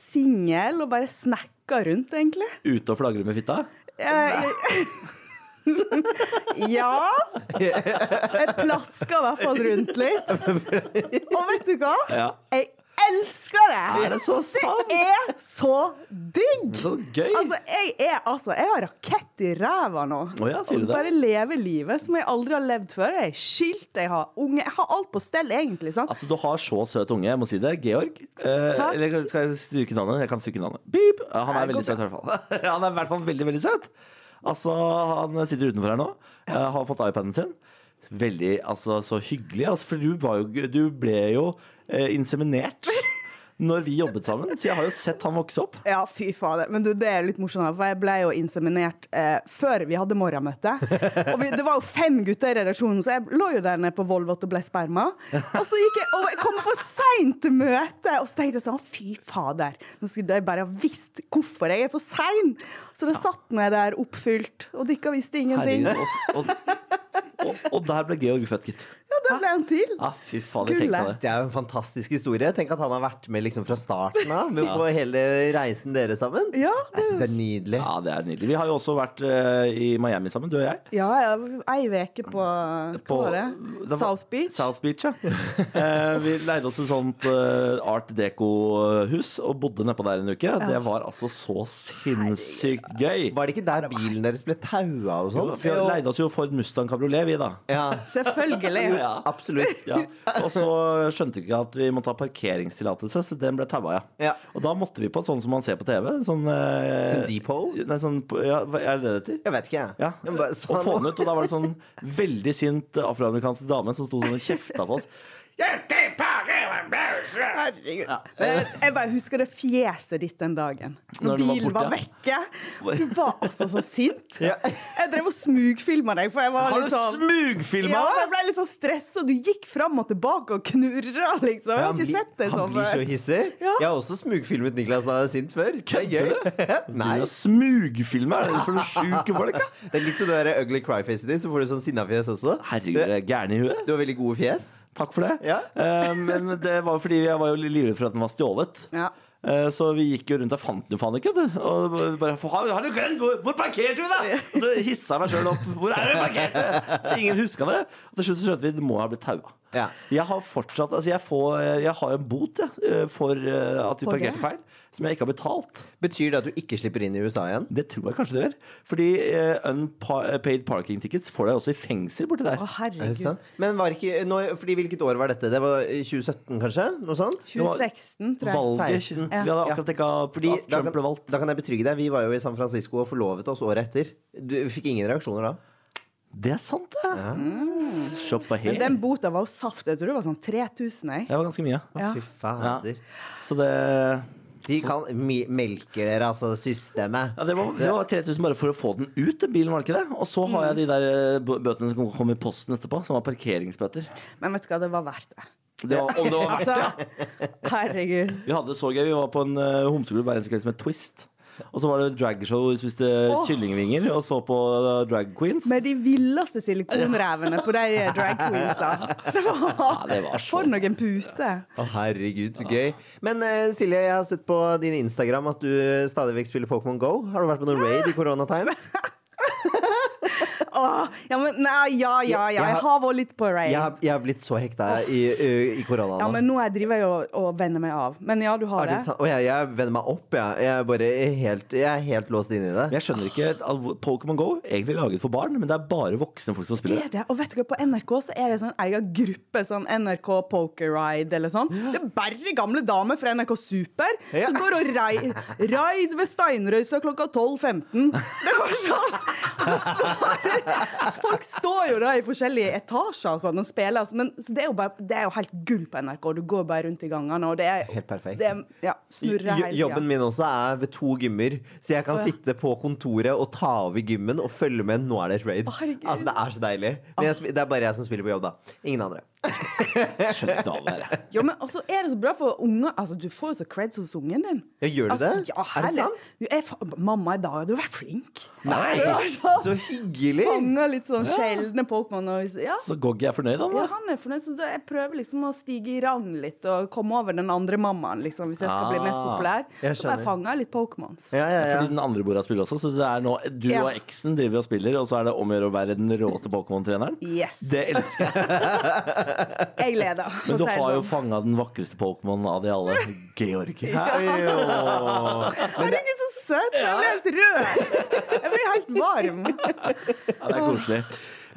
[SPEAKER 3] singel og bare snakker rundt, egentlig.
[SPEAKER 1] Ute og flagre med fitta?
[SPEAKER 3] Eh, ja. Jeg plasker i hvert fall rundt litt. Og vet du hva?
[SPEAKER 1] Ja.
[SPEAKER 3] Jeg elsker det!
[SPEAKER 1] Er det så sant?
[SPEAKER 3] Det er så digg!
[SPEAKER 1] Så gøy!
[SPEAKER 3] Altså, jeg er altså Jeg har rakett i ræva nå.
[SPEAKER 1] Å ja, sier du
[SPEAKER 3] Og
[SPEAKER 1] det?
[SPEAKER 3] Bare lever livet som jeg aldri har levd før. Jeg er skilt, jeg har unge, jeg har alt på stell, egentlig. sant?
[SPEAKER 1] Altså, du har så søt unge, jeg må si det. Georg. Eh,
[SPEAKER 3] Takk.
[SPEAKER 1] eller skal jeg stryke navnet? Jeg kan stryke navnet. Beep. Eh, Han
[SPEAKER 3] Nei,
[SPEAKER 1] er
[SPEAKER 3] det
[SPEAKER 1] veldig
[SPEAKER 3] går
[SPEAKER 1] søt, i hvert fall. Han er i hvert fall veldig, veldig søt. Altså, han sitter utenfor her nå. eh, Har fått iPaden sin. Veldig, altså, så hyggelig. Altså, for du, var jo, du ble jo eh, inseminert når vi jobbet sammen, så jeg har jo sett han vokse opp.
[SPEAKER 3] Ja, fy fader. Men du, det er litt morsomt, da, for jeg ble jo inseminert eh, før vi hadde morgenmøte. Og vi, det var jo fem gutter i redaksjonen, så jeg lå jo der nede på Volvot og ble sperma. Og så gikk jeg, og jeg kom for seint til møtet, og så tenkte jeg sånn, fy fader. Nå skulle jeg bare ha visst hvorfor jeg er for sein. Så da satt jeg der oppfylt, og dere visste ingenting.
[SPEAKER 1] Herregud. Og, og, og, og der ble Georg født, gitt.
[SPEAKER 3] Ja, da ble han til.
[SPEAKER 1] Ja, fy fader, tenk deg det.
[SPEAKER 2] Det er jo en fantastisk historie. Tenk at han har vært med liksom fra starten av. Med på hele reisen dere sammen.
[SPEAKER 3] Ja,
[SPEAKER 2] Jeg synes det er nydelig.
[SPEAKER 1] Ja, det er nydelig. Vi har jo også vært eh, i Miami sammen, du og jeg.
[SPEAKER 3] Ja, ja, ei uke på, hva
[SPEAKER 1] på-
[SPEAKER 3] var det?
[SPEAKER 1] var-
[SPEAKER 3] South Beach.
[SPEAKER 1] South Beach, ja. Eh, vi leide oss et sånt eh, art deco-hus og bodde nedpå der en uke. Det var altså så sinnssykt gøy.
[SPEAKER 2] Var det ikke der bilen deres ble taua og
[SPEAKER 1] Jo,
[SPEAKER 2] sånt?
[SPEAKER 1] Vi leide oss jo Ford Mustang Cabriolet, vi, da.
[SPEAKER 2] Ja,
[SPEAKER 3] Selvfølgelig.
[SPEAKER 1] Ja.
[SPEAKER 2] absolutt.
[SPEAKER 1] Ja. Og så skjønte vi ikke at vi måtte ha parkeringstillatelse, så den ble taua, ja.
[SPEAKER 2] Ja.
[SPEAKER 1] Og da måtte vi på et sånt som man ser på TV. Sånn,
[SPEAKER 2] Sånn
[SPEAKER 1] eh,
[SPEAKER 2] depot?
[SPEAKER 1] Nei, sånn, ja, hva er det det heter?
[SPEAKER 2] Jeg vet ikke, jeg.
[SPEAKER 1] Ja,
[SPEAKER 2] Jeg må bare-
[SPEAKER 1] og få den ut. Og da var det sånn veldig sint eh, afroamerikansk dame som sto sånn og kjefta på oss.
[SPEAKER 3] Herregud. Men Jeg bare husker det fjeset ditt den dagen.
[SPEAKER 1] Når
[SPEAKER 3] Når
[SPEAKER 1] du var
[SPEAKER 3] bilen var,
[SPEAKER 1] borte,
[SPEAKER 3] vekke. Du var altså så sint.
[SPEAKER 2] Ja.
[SPEAKER 3] Jeg drev og smugfilma deg, for jeg var
[SPEAKER 1] Har du
[SPEAKER 3] litt sånn
[SPEAKER 1] smugfilma?
[SPEAKER 3] ja, for jeg ble litt sånn stressa. Du gikk fram og tilbake og knurra, liksom. Jeg
[SPEAKER 2] Ja,
[SPEAKER 3] har ikke sett deg
[SPEAKER 2] han
[SPEAKER 3] sånn
[SPEAKER 2] blir så
[SPEAKER 3] før.
[SPEAKER 2] hissig.
[SPEAKER 3] Ja.
[SPEAKER 2] Jeg har også smugfilmet Niklas da han er sint før. Det er gøy. Nei.
[SPEAKER 1] Nei. Smugfilme? Er det for noen sjuke folk, da?
[SPEAKER 2] Det er litt som det der ugly cry-facet ditt, så får du sånn sinnafjes også.
[SPEAKER 1] Herregud, dere er gærne i huet.
[SPEAKER 2] Du har veldig gode fjes.
[SPEAKER 1] Takk for det.
[SPEAKER 2] Ja.
[SPEAKER 1] Eh, men det var jo fordi jeg var jo livredd for at den var stjålet.
[SPEAKER 3] Ja.
[SPEAKER 1] Eh, Så vi gikk jo rundt og fant den jo faen ikke. du. Og bare, "Faen, har du glemt? Hvor, hvor parkerte vi, da?! Og så hissa jeg meg sjøl opp. Hvor er det vi parkerte? Ingen huska det. Og til slutt så skjønte vi at det må ha blitt taua.
[SPEAKER 2] Ja.
[SPEAKER 1] Jeg har fortsatt Altså, jeg, får, jeg har en bot jeg, for eh, at vi
[SPEAKER 3] For det?
[SPEAKER 1] parkerte feil, som jeg ikke har betalt.
[SPEAKER 2] Betyr det at du ikke slipper inn i USA igjen?
[SPEAKER 1] Det tror jeg kanskje det gjør. Fordi eh, unpaid parking tickets får deg også i fengsel borti der.
[SPEAKER 3] Å,
[SPEAKER 2] Er det
[SPEAKER 3] herregud.
[SPEAKER 2] sant? Men var ikke, når, fordi hvilket år var dette? Det var i 2017, kanskje? Noe sånt?
[SPEAKER 3] 2016, tror jeg.
[SPEAKER 1] Valget
[SPEAKER 2] 16.
[SPEAKER 1] Vi hadde akkurat dekka
[SPEAKER 2] Fordi
[SPEAKER 1] at
[SPEAKER 2] da
[SPEAKER 1] Trump
[SPEAKER 2] kan,
[SPEAKER 1] ble valgt.
[SPEAKER 2] da kan jeg betrygge deg. Vi var jo i San Francisco og forlovet oss året etter. Du fikk ingen reaksjoner da.
[SPEAKER 1] Det er sant, det. Se på her.
[SPEAKER 3] Men den bota var jo saft. Jeg tror det var sånn 3000, jeg.
[SPEAKER 1] Det var ganske mye.
[SPEAKER 3] Ja.
[SPEAKER 2] Fy fader.
[SPEAKER 1] Så det
[SPEAKER 2] De kan mi- melke dere, altså, systemet.
[SPEAKER 1] ja, det, var, det var 3000 bare for å få den ut, den bilen, var det ikke det? Og så har jeg de der eh, bø- bøtene som kom i posten etterpå, som var parkeringsbøter.
[SPEAKER 3] Men vet du hva, det var verdt det.
[SPEAKER 1] Det var, om det var verdt
[SPEAKER 3] Altså, herregud.
[SPEAKER 1] Vi hadde det så gøy. Vi var på en uh, homseklubb hver eneste kveld som het Twist. Og så var det dragshow, vi spiste
[SPEAKER 3] Åh.
[SPEAKER 1] kyllingvinger og så på eh, drag queens.
[SPEAKER 3] Med de villeste silikonrevene på de drag queensa. Det var,
[SPEAKER 1] det var så
[SPEAKER 3] For noen pute.
[SPEAKER 2] Å, herregud, så gøy. Men eh, Silje, jeg har sett på din Instagram at du stadig vekk spiller Pokémon Go. Har du vært på noen raid i koronatimes?
[SPEAKER 3] Å, Åh, ja, men, nei, ja, ja, ja. Jeg har vært litt på
[SPEAKER 2] Jeg,
[SPEAKER 3] raid.
[SPEAKER 2] har- jeg har blitt så hekta i, i, i koronaen.
[SPEAKER 3] Ja, men nå er- driver jeg jo og venner meg av. Men ja, du har
[SPEAKER 2] Er det
[SPEAKER 3] det.
[SPEAKER 2] sant? Å, jeg, jeg vender meg opp, jeg. Jeg er bare helt, jeg er helt låst inne i det.
[SPEAKER 1] Men jeg skjønner ikke at Pokémon Go er egentlig laget for barn, men det er bare voksne folk som spiller
[SPEAKER 3] Er
[SPEAKER 1] det.
[SPEAKER 3] det? Og vet du hva, på NRK så er det sånn egen gruppe, sånn NRK Poker Ride eller sånn. Det er bare gamle damer fra NRK Super
[SPEAKER 2] Ja.
[SPEAKER 3] som går og rei, raid ved Steinrøysa klokka 12.15. Det var sånn. Og så står, folk står jo da i forskjellige etasjer og sånn og spiller. altså, Men så det, er jo bare, det er jo helt gull på NRK. Du går bare rundt i gangene, og det er
[SPEAKER 2] Helt perfekt.
[SPEAKER 3] Det er, ja, snurrer
[SPEAKER 2] Jo-
[SPEAKER 3] hele
[SPEAKER 2] Jobben
[SPEAKER 3] tida.
[SPEAKER 2] min også er ved to gymmer, så jeg kan
[SPEAKER 3] Å, ja.
[SPEAKER 2] sitte på kontoret og ta over gymmen og følge med. Nå er det et raid.
[SPEAKER 3] Å, herregud.
[SPEAKER 2] Altså, det er så deilig. Men jeg, sp- det er bare jeg som spiller på jobb, da. Ingen andre.
[SPEAKER 1] Jeg skjønner ikke noe av det her. jeg.
[SPEAKER 3] Ja, men også er det så bra for unger. Altså, du får jo så creds hos ungen din.
[SPEAKER 2] Ja, gjør du
[SPEAKER 3] Altså,
[SPEAKER 2] det?
[SPEAKER 3] Ja,
[SPEAKER 2] er det
[SPEAKER 3] herlig.
[SPEAKER 2] sant?
[SPEAKER 3] Du er fa- mamma i dag, du har vært flink.
[SPEAKER 2] Nei! Så, så hyggelig!
[SPEAKER 3] Fanger litt sånn sjeldne Pokémon. og- Ja.
[SPEAKER 1] Så Goggy er fornøyd, han
[SPEAKER 3] ja,
[SPEAKER 1] da?
[SPEAKER 3] han er fornøyd, så jeg prøver liksom å stige i rang litt og komme over den andre mammaen, liksom, hvis jeg skal bli mest
[SPEAKER 1] Ah,
[SPEAKER 3] populær.
[SPEAKER 2] jeg
[SPEAKER 3] Så bare
[SPEAKER 2] skjønner.
[SPEAKER 3] fanger jeg litt Pokémons.
[SPEAKER 2] Ja, ja, ja.
[SPEAKER 1] Fordi den andre bordet spiller også, så det er nå du
[SPEAKER 3] Ja.
[SPEAKER 1] og eksen driver og spiller, og så er det om å gjøre å være den råeste Pokémon-treneren.
[SPEAKER 3] Yes.
[SPEAKER 1] Det elsker jeg.
[SPEAKER 3] Jeg leder. for å
[SPEAKER 1] Men
[SPEAKER 3] si
[SPEAKER 1] du
[SPEAKER 3] det
[SPEAKER 1] har jo
[SPEAKER 3] sånn.
[SPEAKER 1] fanga den vakreste Pokémon av de alle. Georg. Hæ?
[SPEAKER 2] Ajo.
[SPEAKER 3] Herregud, så søt! Jeg blir helt rød! Jeg blir helt varm.
[SPEAKER 1] Ja, det er koselig.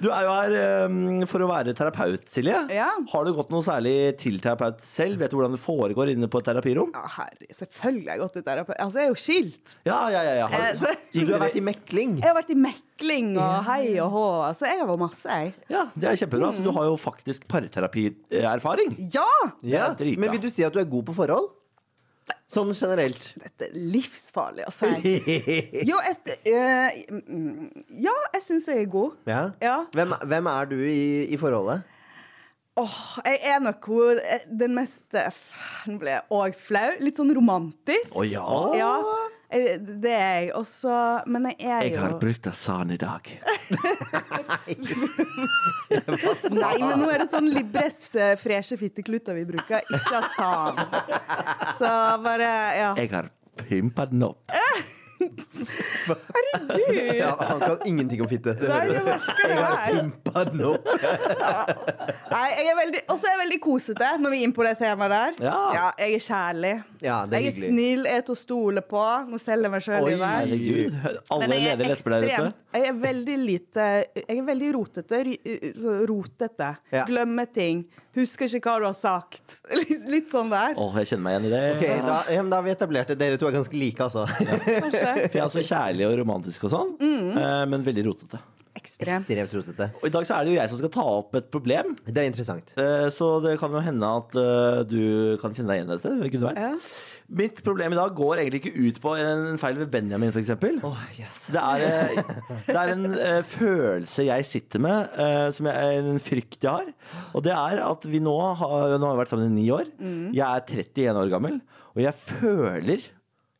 [SPEAKER 1] Du er jo her um, for å være terapeut, Silje.
[SPEAKER 3] Ja.
[SPEAKER 1] Har du gått noe særlig til terapeut selv? Vet du hvordan det foregår inne på et terapirom?
[SPEAKER 3] Ja, herre, selvfølgelig har jeg gått til terapeut. Altså, jeg er jo skilt.
[SPEAKER 1] Ja, ja, ja. ja.
[SPEAKER 3] Eh,
[SPEAKER 1] Har du,
[SPEAKER 3] så-
[SPEAKER 2] Så du har vært i mekling?
[SPEAKER 3] Jeg har vært i mekling og hei og hå. Altså, jeg har vært masse, jeg.
[SPEAKER 1] ja, det er kjempebra. Så du har jo faktisk parterapierfaring.
[SPEAKER 3] Ja!
[SPEAKER 2] Ja.
[SPEAKER 1] Det er dritbra.
[SPEAKER 2] Men vil du si at du er god på forhold? Sånn generelt.
[SPEAKER 3] Dette er livsfarlig å si. Jo, jeg, st- eh, mm, ja, jeg syns jeg er god.
[SPEAKER 2] Ja.
[SPEAKER 3] Ja.
[SPEAKER 2] Hvem, hvem er du i, i forholdet?
[SPEAKER 3] Åh, jeg er nok hvor eh, den mest eh, f- Nå ble jeg òg flau. Litt sånn romantisk.
[SPEAKER 1] Å ja.
[SPEAKER 3] Ja, jeg- det er jeg. Og så Men jeg er
[SPEAKER 1] Jeg
[SPEAKER 3] jo
[SPEAKER 1] har brukt asan i dag.
[SPEAKER 3] Nei, men nå er det sånn Libres eh, freshe fitteklutter vi bruker, ikke Asan. Så bare Ja.
[SPEAKER 1] Jeg har pimpa den opp.
[SPEAKER 3] Gud.
[SPEAKER 2] Ja, han kan ingenting om fitte. Det
[SPEAKER 3] Nei,
[SPEAKER 2] hører
[SPEAKER 3] jeg
[SPEAKER 2] du.
[SPEAKER 3] merker det
[SPEAKER 2] Jeg har
[SPEAKER 3] her.
[SPEAKER 2] pimpa den opp.
[SPEAKER 3] Nei, jeg er veldig, også er jeg veldig kosete når vi er inne på det temaet der.
[SPEAKER 1] Ja.
[SPEAKER 3] jeg er kjærlig.
[SPEAKER 2] Ja, det er
[SPEAKER 3] jeg er
[SPEAKER 2] hyggelig.
[SPEAKER 3] snill, jeg er til å stole på. Nå selger jeg meg sjøl i
[SPEAKER 2] Oi.
[SPEAKER 3] vei.
[SPEAKER 1] Herregud. Alle ledige lesber der ute.
[SPEAKER 3] jeg er veldig lite Jeg er veldig rotete. ry- så Rotete.
[SPEAKER 2] Ja.
[SPEAKER 3] Glemmer ting. Husker ikke hva du har sagt. Litt, litt sånn der.
[SPEAKER 1] Åh, jeg kjenner meg igjen i det.
[SPEAKER 2] Ok, da, ja, men da har vi etablert det. Dere to er ganske like, altså.
[SPEAKER 3] Kanskje.
[SPEAKER 1] For jeg er også kjærlig og romantisk og sånn, eh, men veldig rotete.
[SPEAKER 3] Ekstremt.
[SPEAKER 2] Ekstremt rotete.
[SPEAKER 1] Og i dag så er det jo jeg som skal ta opp et problem,
[SPEAKER 2] Det er interessant.
[SPEAKER 1] eh, så det kan jo hende at eh, du kan kjenne deg igjen i dette. hvem kunne det vært?
[SPEAKER 3] Ja.
[SPEAKER 1] Mitt problem i dag går egentlig ikke ut på en feil ved Benjamin, f.eks.
[SPEAKER 2] Åh, yes.
[SPEAKER 1] Det er, eh, det er en eh, følelse jeg sitter med, eh, som jeg, en frykt jeg har. Og det er at vi nå har, nå har vi vært sammen i ni år. Jeg er 31 år gammel, og jeg føler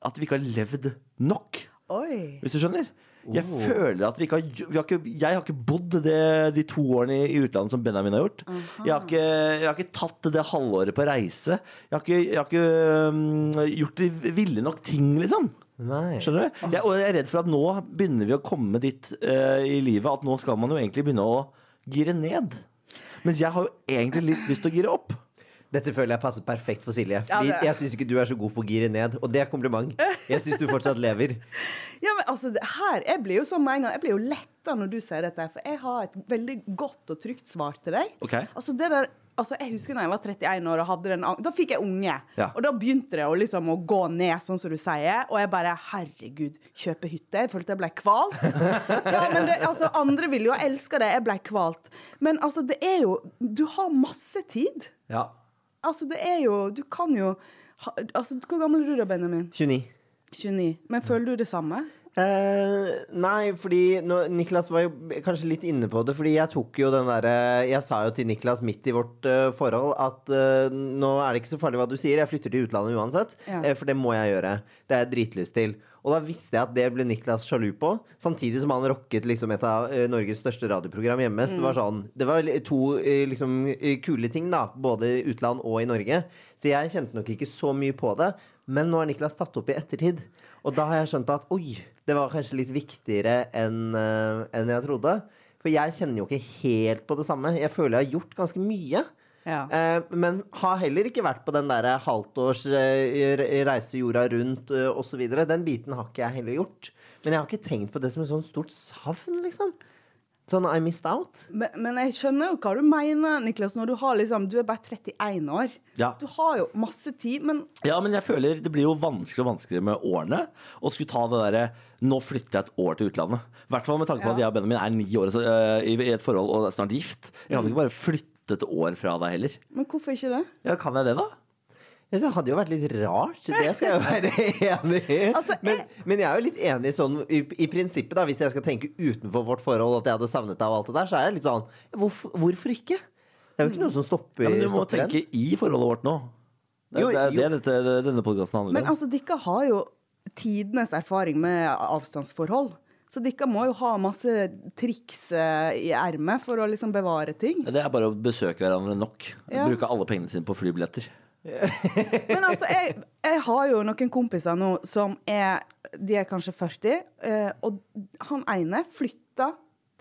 [SPEAKER 1] at vi ikke har levd nok.
[SPEAKER 3] Oi.
[SPEAKER 1] Hvis du skjønner? Jeg føler at vi ikke har, vi har ikke, Jeg har ikke bodd det, de to årene i, i utlandet som Benjamin har gjort. Jeg har, ikke, jeg har ikke tatt det halvåret på reise. Jeg har ikke, jeg har ikke mm, gjort de ville nok ting, liksom.
[SPEAKER 2] Nei.
[SPEAKER 1] Skjønner du? Jeg, og jeg er redd for at nå begynner vi å komme dit eh, i livet at nå skal man jo egentlig begynne å gire ned. Mens jeg har jo egentlig litt lyst til å gire opp.
[SPEAKER 2] Dette føler jeg passer perfekt for Silje. Fordi
[SPEAKER 3] det-
[SPEAKER 2] Jeg syns ikke du er så god på å gire ned, og det er kompliment. Jeg syns du fortsatt lever.
[SPEAKER 3] Ja, men altså, det her, jeg blir jo sånn med en gang Jeg blir jo letta når du sier dette, her, for jeg har et veldig godt og trygt svar til deg.
[SPEAKER 1] Ok.
[SPEAKER 3] Altså, det der, altså, jeg husker da jeg var 31 år og hadde den ang- Da fikk jeg unge.
[SPEAKER 1] Ja.
[SPEAKER 3] Og da begynte det å, liksom, å gå ned, sånn som du sier. Og jeg bare Herregud, kjøpe hytte? Jeg følte jeg ble kvalt. ja, men det, altså, andre ville jo elske det. Jeg ble kvalt. Men altså, det er jo Du har masse tid.
[SPEAKER 1] Ja.
[SPEAKER 3] Altså, det er jo Du kan jo ha, altså, Hvor gammel er du da, Benjamin?
[SPEAKER 2] 29.
[SPEAKER 3] 29. Men føler du det samme?
[SPEAKER 2] Eh, nei, fordi nå, Niklas var jo kanskje litt inne på det. Fordi jeg tok jo den derre Jeg sa jo til Niklas midt i vårt eh, forhold at eh, nå er det ikke så farlig hva du sier, jeg flytter til utlandet uansett.
[SPEAKER 3] Ja.
[SPEAKER 2] eh, for det må jeg gjøre. Det har jeg dritlyst til. Og da visste jeg at det ble Niklas sjalu på. Samtidig som han rocket liksom et av eh, Norges største radioprogram hjemme. Så det var sånn Det var li- to eh, liksom eh, kule ting, da. Både i utland og i Norge. Så jeg kjente nok ikke så mye på det. Men nå har Niklas tatt opp i ettertid. Og da har jeg skjønt at oi, det var kanskje litt viktigere enn eh, enn jeg trodde. For jeg kjenner jo ikke helt på det samme. Jeg føler jeg har gjort ganske mye.
[SPEAKER 3] Ja.
[SPEAKER 2] Eh, men har heller ikke vært på den der halvtårs eh, re- reise jorda rundt eh, osv. Den biten har ikke jeg heller gjort. Men jeg har ikke tenkt på det som et sånn stort savn, liksom. Sånn I missed out.
[SPEAKER 3] Men, men jeg skjønner jo hva du mener, Niklas, når du har liksom Du er bare 31 år.
[SPEAKER 1] Ja.
[SPEAKER 3] Du har jo masse tid, men
[SPEAKER 1] Ja, men jeg føler det blir jo vanskeligere og vanskeligere med årene å skulle ta det derre Nå flytter jeg et år til utlandet. I hvert fall med tanke på at
[SPEAKER 3] Ja.
[SPEAKER 1] jeg og Benjamin er ni år så, eh, i i et forhold og er snart gift. Jeg
[SPEAKER 3] Mm.
[SPEAKER 1] hadde ikke bare flyttet et år fra deg heller.
[SPEAKER 3] Men hvorfor ikke det?
[SPEAKER 1] Ja, Kan jeg det, da?
[SPEAKER 2] Jeg synes Det hadde jo vært litt rart. Det skal jeg jo være enig i.
[SPEAKER 3] Altså,
[SPEAKER 2] men, men jeg er jo litt enig sånn i, i prinsippet, da. Hvis jeg skal tenke utenfor vårt forhold at jeg hadde savnet deg og alt det der, så er jeg litt sånn Hvorfor, hvorfor ikke? Det er jo ikke noe som stopper,
[SPEAKER 1] Ja, men du må
[SPEAKER 2] stopper en.
[SPEAKER 1] tenke i forholdet vårt nå. Det,
[SPEAKER 2] Jo,
[SPEAKER 1] det er
[SPEAKER 2] jo.
[SPEAKER 1] det dette, det- denne podkasten handler om.
[SPEAKER 3] Men altså, dere har jo tidenes erfaring med avstandsforhold. Så dere må jo ha masse triks eh, i ermet for å liksom bevare ting.
[SPEAKER 1] Det er bare å besøke hverandre nok.
[SPEAKER 3] Ja.
[SPEAKER 1] Bruke alle pengene sine på flybilletter.
[SPEAKER 3] Men altså, jeg, jeg har jo noen kompiser nå som er De er kanskje 40, eh, og han ene flytta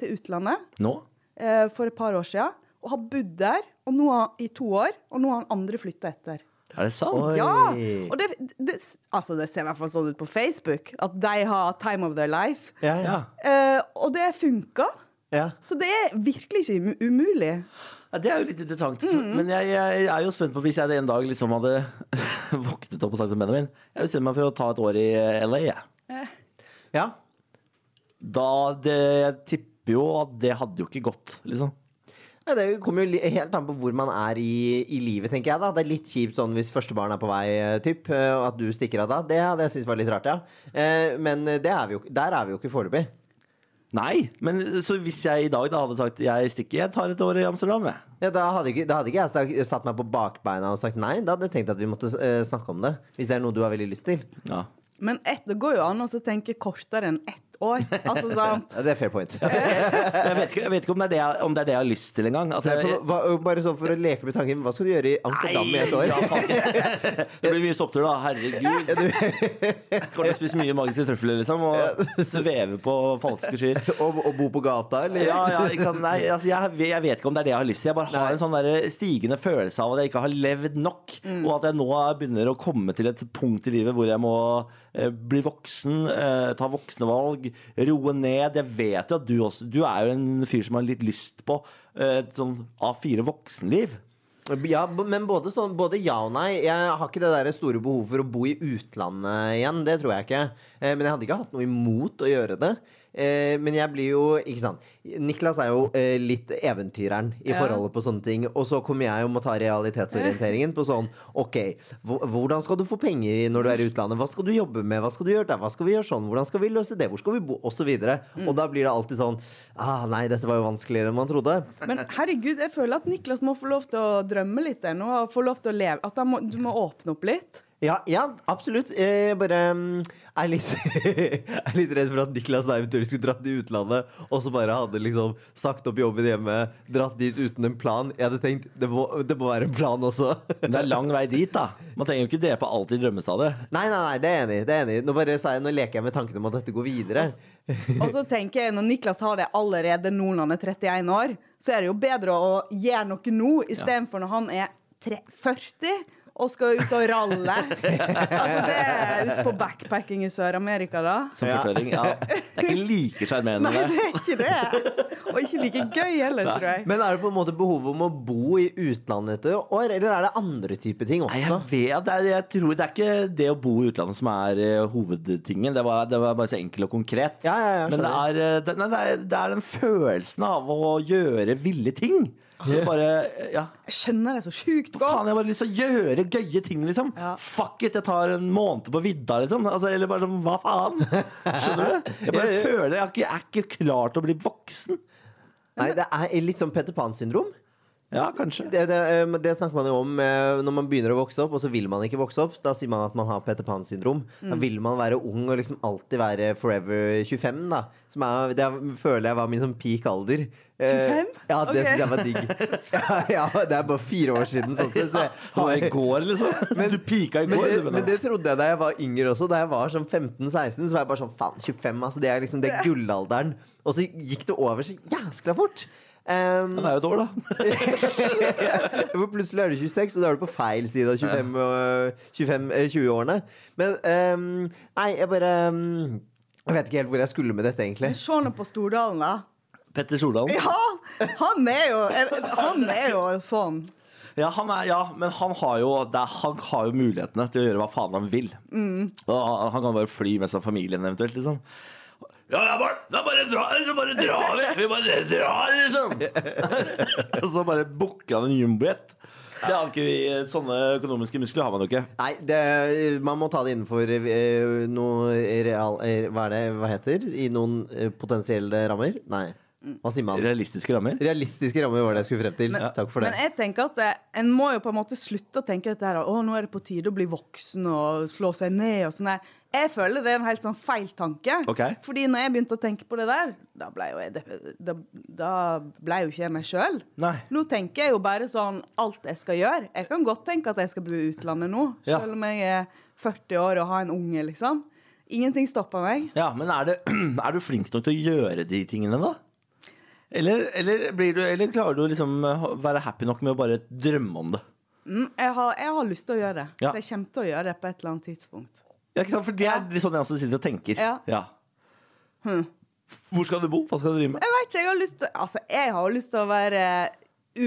[SPEAKER 3] til utlandet
[SPEAKER 1] Nå?
[SPEAKER 3] eh, for et par år siden og har bodd der og nå har, i to år, og nå har han andre flytta etter.
[SPEAKER 1] Er det sant?
[SPEAKER 2] Oi.
[SPEAKER 3] Ja! Og det, det, altså det ser i hvert fall sånn ut på Facebook, at de har time of their life.
[SPEAKER 2] Ja, ja.
[SPEAKER 1] Ja.
[SPEAKER 3] Eh, og det funka.
[SPEAKER 2] ja.
[SPEAKER 3] Så det er virkelig ikke umu- umulig.
[SPEAKER 1] Ja, Det er jo litt interessant.
[SPEAKER 2] Mm-hmm.
[SPEAKER 1] Men jeg, jeg er jo spent på hvis jeg en dag liksom hadde våknet opp og sagt som Benjamin Jeg bestemmer meg for å ta et år i LA. jeg.
[SPEAKER 2] ja.
[SPEAKER 1] Da det, Jeg tipper jo at det hadde jo ikke gått, liksom.
[SPEAKER 2] Nei, det kommer jo li- helt an på hvor man er i, i livet, tenker jeg. da Det er litt kjipt sånn hvis første barn er på vei, eh, typ, eh, og at du stikker av da. Det hadde jeg syntes var litt rart, ja. Eh, Men det er vi jo, ikke- der er vi jo ikke foreløpig.
[SPEAKER 1] Nei. Men så hvis jeg i dag da hadde sagt jeg stikker, jeg tar et år i Amsterdam, jeg.
[SPEAKER 2] Ja, da, hadde ikke, da hadde ikke jeg sagt- satt meg på bakbeina og sagt nei. Da hadde jeg tenkt at vi måtte eh, snakke om det. Hvis det er noe du har veldig lyst til.
[SPEAKER 1] Ja.
[SPEAKER 3] Men ett, det går jo an å så tenke kortere enn ett år. Altså, sant?
[SPEAKER 2] Ja, det er fair point.
[SPEAKER 1] Men Jeg vet ikke, jeg vet ikke om, det er det jeg, om det er det jeg har lyst til engang. Altså,
[SPEAKER 2] Nei,
[SPEAKER 1] jeg-
[SPEAKER 2] for, hva, bare sånn for å leke med tanken, hva skal du gjøre i Amsterdam i et år?
[SPEAKER 1] Ja, faen. det blir mye sopptur, da. Herregud. Kommer til å spise mye magiske trøfler, liksom. Og sveve på falske skyer.
[SPEAKER 2] Og, og bo på gata, eller?
[SPEAKER 1] Ja, ja, ikke sant? Nei, altså, jeg, jeg vet ikke om det er det jeg har lyst til. Jeg bare har en sånn der stigende følelse av at jeg ikke har levd nok.
[SPEAKER 2] Mm.
[SPEAKER 1] Og at jeg nå begynner å komme til et punkt i livet hvor jeg må eh, bli voksen, eh, ta voksne valg, roe ned. Jeg vet jo at du også Du er jo en fyr som har litt lyst på eh, et sånn A4 voksenliv.
[SPEAKER 2] Ja, b- men både, sånn, både ja og nei. Jeg har ikke det der store behovet for å bo i utlandet igjen. Det tror jeg ikke. Eh, men jeg hadde ikke hatt noe imot å gjøre det. Eh, men jeg blir jo Ikke sant. Niklas er jo eh, litt eventyreren i
[SPEAKER 3] Ja.
[SPEAKER 2] forholdet på sånne ting. Og så kommer jeg og må ta realitetsorienteringen på sånn OK, hv- hvordan skal du få penger når du er i utlandet? Hva skal du jobbe med? Hva skal du gjøre der? Hva skal vi gjøre sånn? Hvordan skal vi løse det? Hvor skal vi bo? Og så videre. Og da blir det alltid sånn ah, Nei, dette var jo vanskeligere enn man trodde.
[SPEAKER 3] Men herregud, jeg føler at Niklas må få lov til å drømme litt ennå. Og få lov til å leve. At han må, du må åpne opp litt.
[SPEAKER 2] Ja, ja absolutt. Jeg bare mm, er litt, er litt redd for at Niklas da eventuelt skulle dratt til utlandet, og så bare hadde liksom sagt opp jobben hjemme, dratt dit uten en plan. Jeg hadde tenkt det må, det må være en plan også.
[SPEAKER 1] Men det er lang vei dit, da. Man trenger jo ikke drepe alt i drømmestadiet.
[SPEAKER 2] Nei, nei, nei, det er jeg enig. i, det er jeg enig. i. Nå bare sa jeg, nå leker jeg med tanken om at dette går videre.
[SPEAKER 3] Og så tenker jeg, når Niklas har det allerede nå når han er 31 år, så er det jo bedre å gjøre noe nå istedenfor når han er tre- 40 og skal ut og ralle. altså det er ut på backpacking i Sør-Amerika, da.
[SPEAKER 1] Som
[SPEAKER 2] Ja.
[SPEAKER 1] 40-åring. Ja. Det er ikke like sjarmerende.
[SPEAKER 3] Nei,
[SPEAKER 1] det.
[SPEAKER 3] det er ikke det. Og ikke like gøy heller, tror jeg.
[SPEAKER 2] Men er det på en måte behovet om å bo i utlandet etter år, eller er det andre typer ting
[SPEAKER 1] Nei,
[SPEAKER 2] også?
[SPEAKER 1] jeg vet det. er- Jeg tror det er ikke det å bo i utlandet som er eh, hovedtingen. Det var, det var bare så enkelt og konkret.
[SPEAKER 2] Ja, ja, ja,
[SPEAKER 1] Men det
[SPEAKER 2] skjønner.
[SPEAKER 1] er, eh, det, nei, det, er, det er den følelsen av å gjøre ville ting. Så Bare, ja.
[SPEAKER 3] Jeg skjønner det så sjukt
[SPEAKER 1] Faen,
[SPEAKER 3] godt.
[SPEAKER 1] jeg har bare lyst til å gjøre gøye ting, liksom.
[SPEAKER 3] Ja.
[SPEAKER 1] Fuck it, jeg tar en måned på vidda, liksom. Altså, eller bare sånn, hva faen? Skjønner du? Jeg bare
[SPEAKER 2] Ja, ja.
[SPEAKER 1] føler jeg er ikke, jeg er ikke klar til å bli voksen.
[SPEAKER 2] Nei, det er litt sånn Petter Pan-syndrom.
[SPEAKER 1] Ja, kanskje.
[SPEAKER 2] Det, det, eh, det snakker man jo om eh, når man begynner å vokse opp, og så vil man ikke vokse opp. Da sier man at man har Peter Pan-syndrom. Da vil man være ung og liksom alltid være forever 25, da. Som er, det er, føler jeg var min sånn peak alder. Eh,
[SPEAKER 3] 25?
[SPEAKER 2] Ja, det
[SPEAKER 3] Ok.
[SPEAKER 2] syns jeg var digg. Ja, ja, det er bare fire år siden, sånn sett. Så jeg
[SPEAKER 1] Det var i går, liksom. du pika i
[SPEAKER 2] men
[SPEAKER 1] går.
[SPEAKER 2] det,
[SPEAKER 1] du mener.
[SPEAKER 2] men det trodde jeg da jeg var yngre også. Da jeg var sånn 15-16, så var jeg bare sånn faen, 25, altså. Det er liksom det er gullalderen. Og så gikk det over så jæskla fort. Um,
[SPEAKER 1] det er jo et år, da.
[SPEAKER 2] for plutselig er du 26, og da er du på feil side av 25, og- 25 eh, 20-årene. Men ehm, Nei, jeg bare ehm, Jeg vet ikke helt hvor jeg skulle med dette, egentlig.
[SPEAKER 3] Se nå på Stordalen, da.
[SPEAKER 1] Petter Stordalen.
[SPEAKER 3] Ja! Han er jo, han er jo sånn.
[SPEAKER 1] Ja, han er, ja men han har, jo, det er, han har jo mulighetene til å gjøre hva faen han vil. Og han, han kan bare fly med seg familien eventuelt, liksom. Ja, ja, bare, da bare dra, så bare drar vi! Vi bare drar, liksom! Og så bare booker han en jumbojet. Det har ikke vi, Sånne økonomiske muskler har man jo ikke.
[SPEAKER 2] Nei, det, man må ta det innenfor eh, noe real... eh, Hva er det hva heter? I noen eh, potensielle rammer? Nei. Hva sier man?
[SPEAKER 1] Realistiske rammer.
[SPEAKER 2] Realistiske rammer var det jeg skulle frem til. Takk for det.
[SPEAKER 3] Mm. Men jeg tenker at eh, en må jo på en måte slutte å tenke dette her Å, nå er det på tide å bli voksen og slå seg ned og sånn der. Jeg føler det er en helt sånn feil tanke.
[SPEAKER 1] Ok.
[SPEAKER 3] Fordi når jeg begynte å tenke på det der, da ble jo jeg, dep- da, da ble jo ikke jeg meg sjøl.
[SPEAKER 1] Nei.
[SPEAKER 3] Nå tenker jeg jo bare sånn alt jeg skal gjøre. Jeg kan godt tenke at jeg skal bo i utlandet nå,
[SPEAKER 1] Ja.
[SPEAKER 3] selv om jeg er 40 år og har en unge, liksom. Ingenting stopper meg.
[SPEAKER 1] Ja, men er, det, er du flink nok til å gjøre de tingene, da? Eller, eller, blir du, eller klarer du å liksom å være happy nok med å bare drømme om det?
[SPEAKER 3] Mm, jeg, har, jeg har lyst til å gjøre det.
[SPEAKER 1] Ja.
[SPEAKER 3] Så jeg kommer til å gjøre det på et eller annet tidspunkt.
[SPEAKER 1] Ja, ikke sant? For det er litt sånn jeg også sitter og tenker.
[SPEAKER 3] Ja. Hmm.
[SPEAKER 1] Hvor skal du bo? Hva skal du drive med?
[SPEAKER 3] Jeg vet ikke, jeg har lyst til Altså, jeg har jo lyst til å være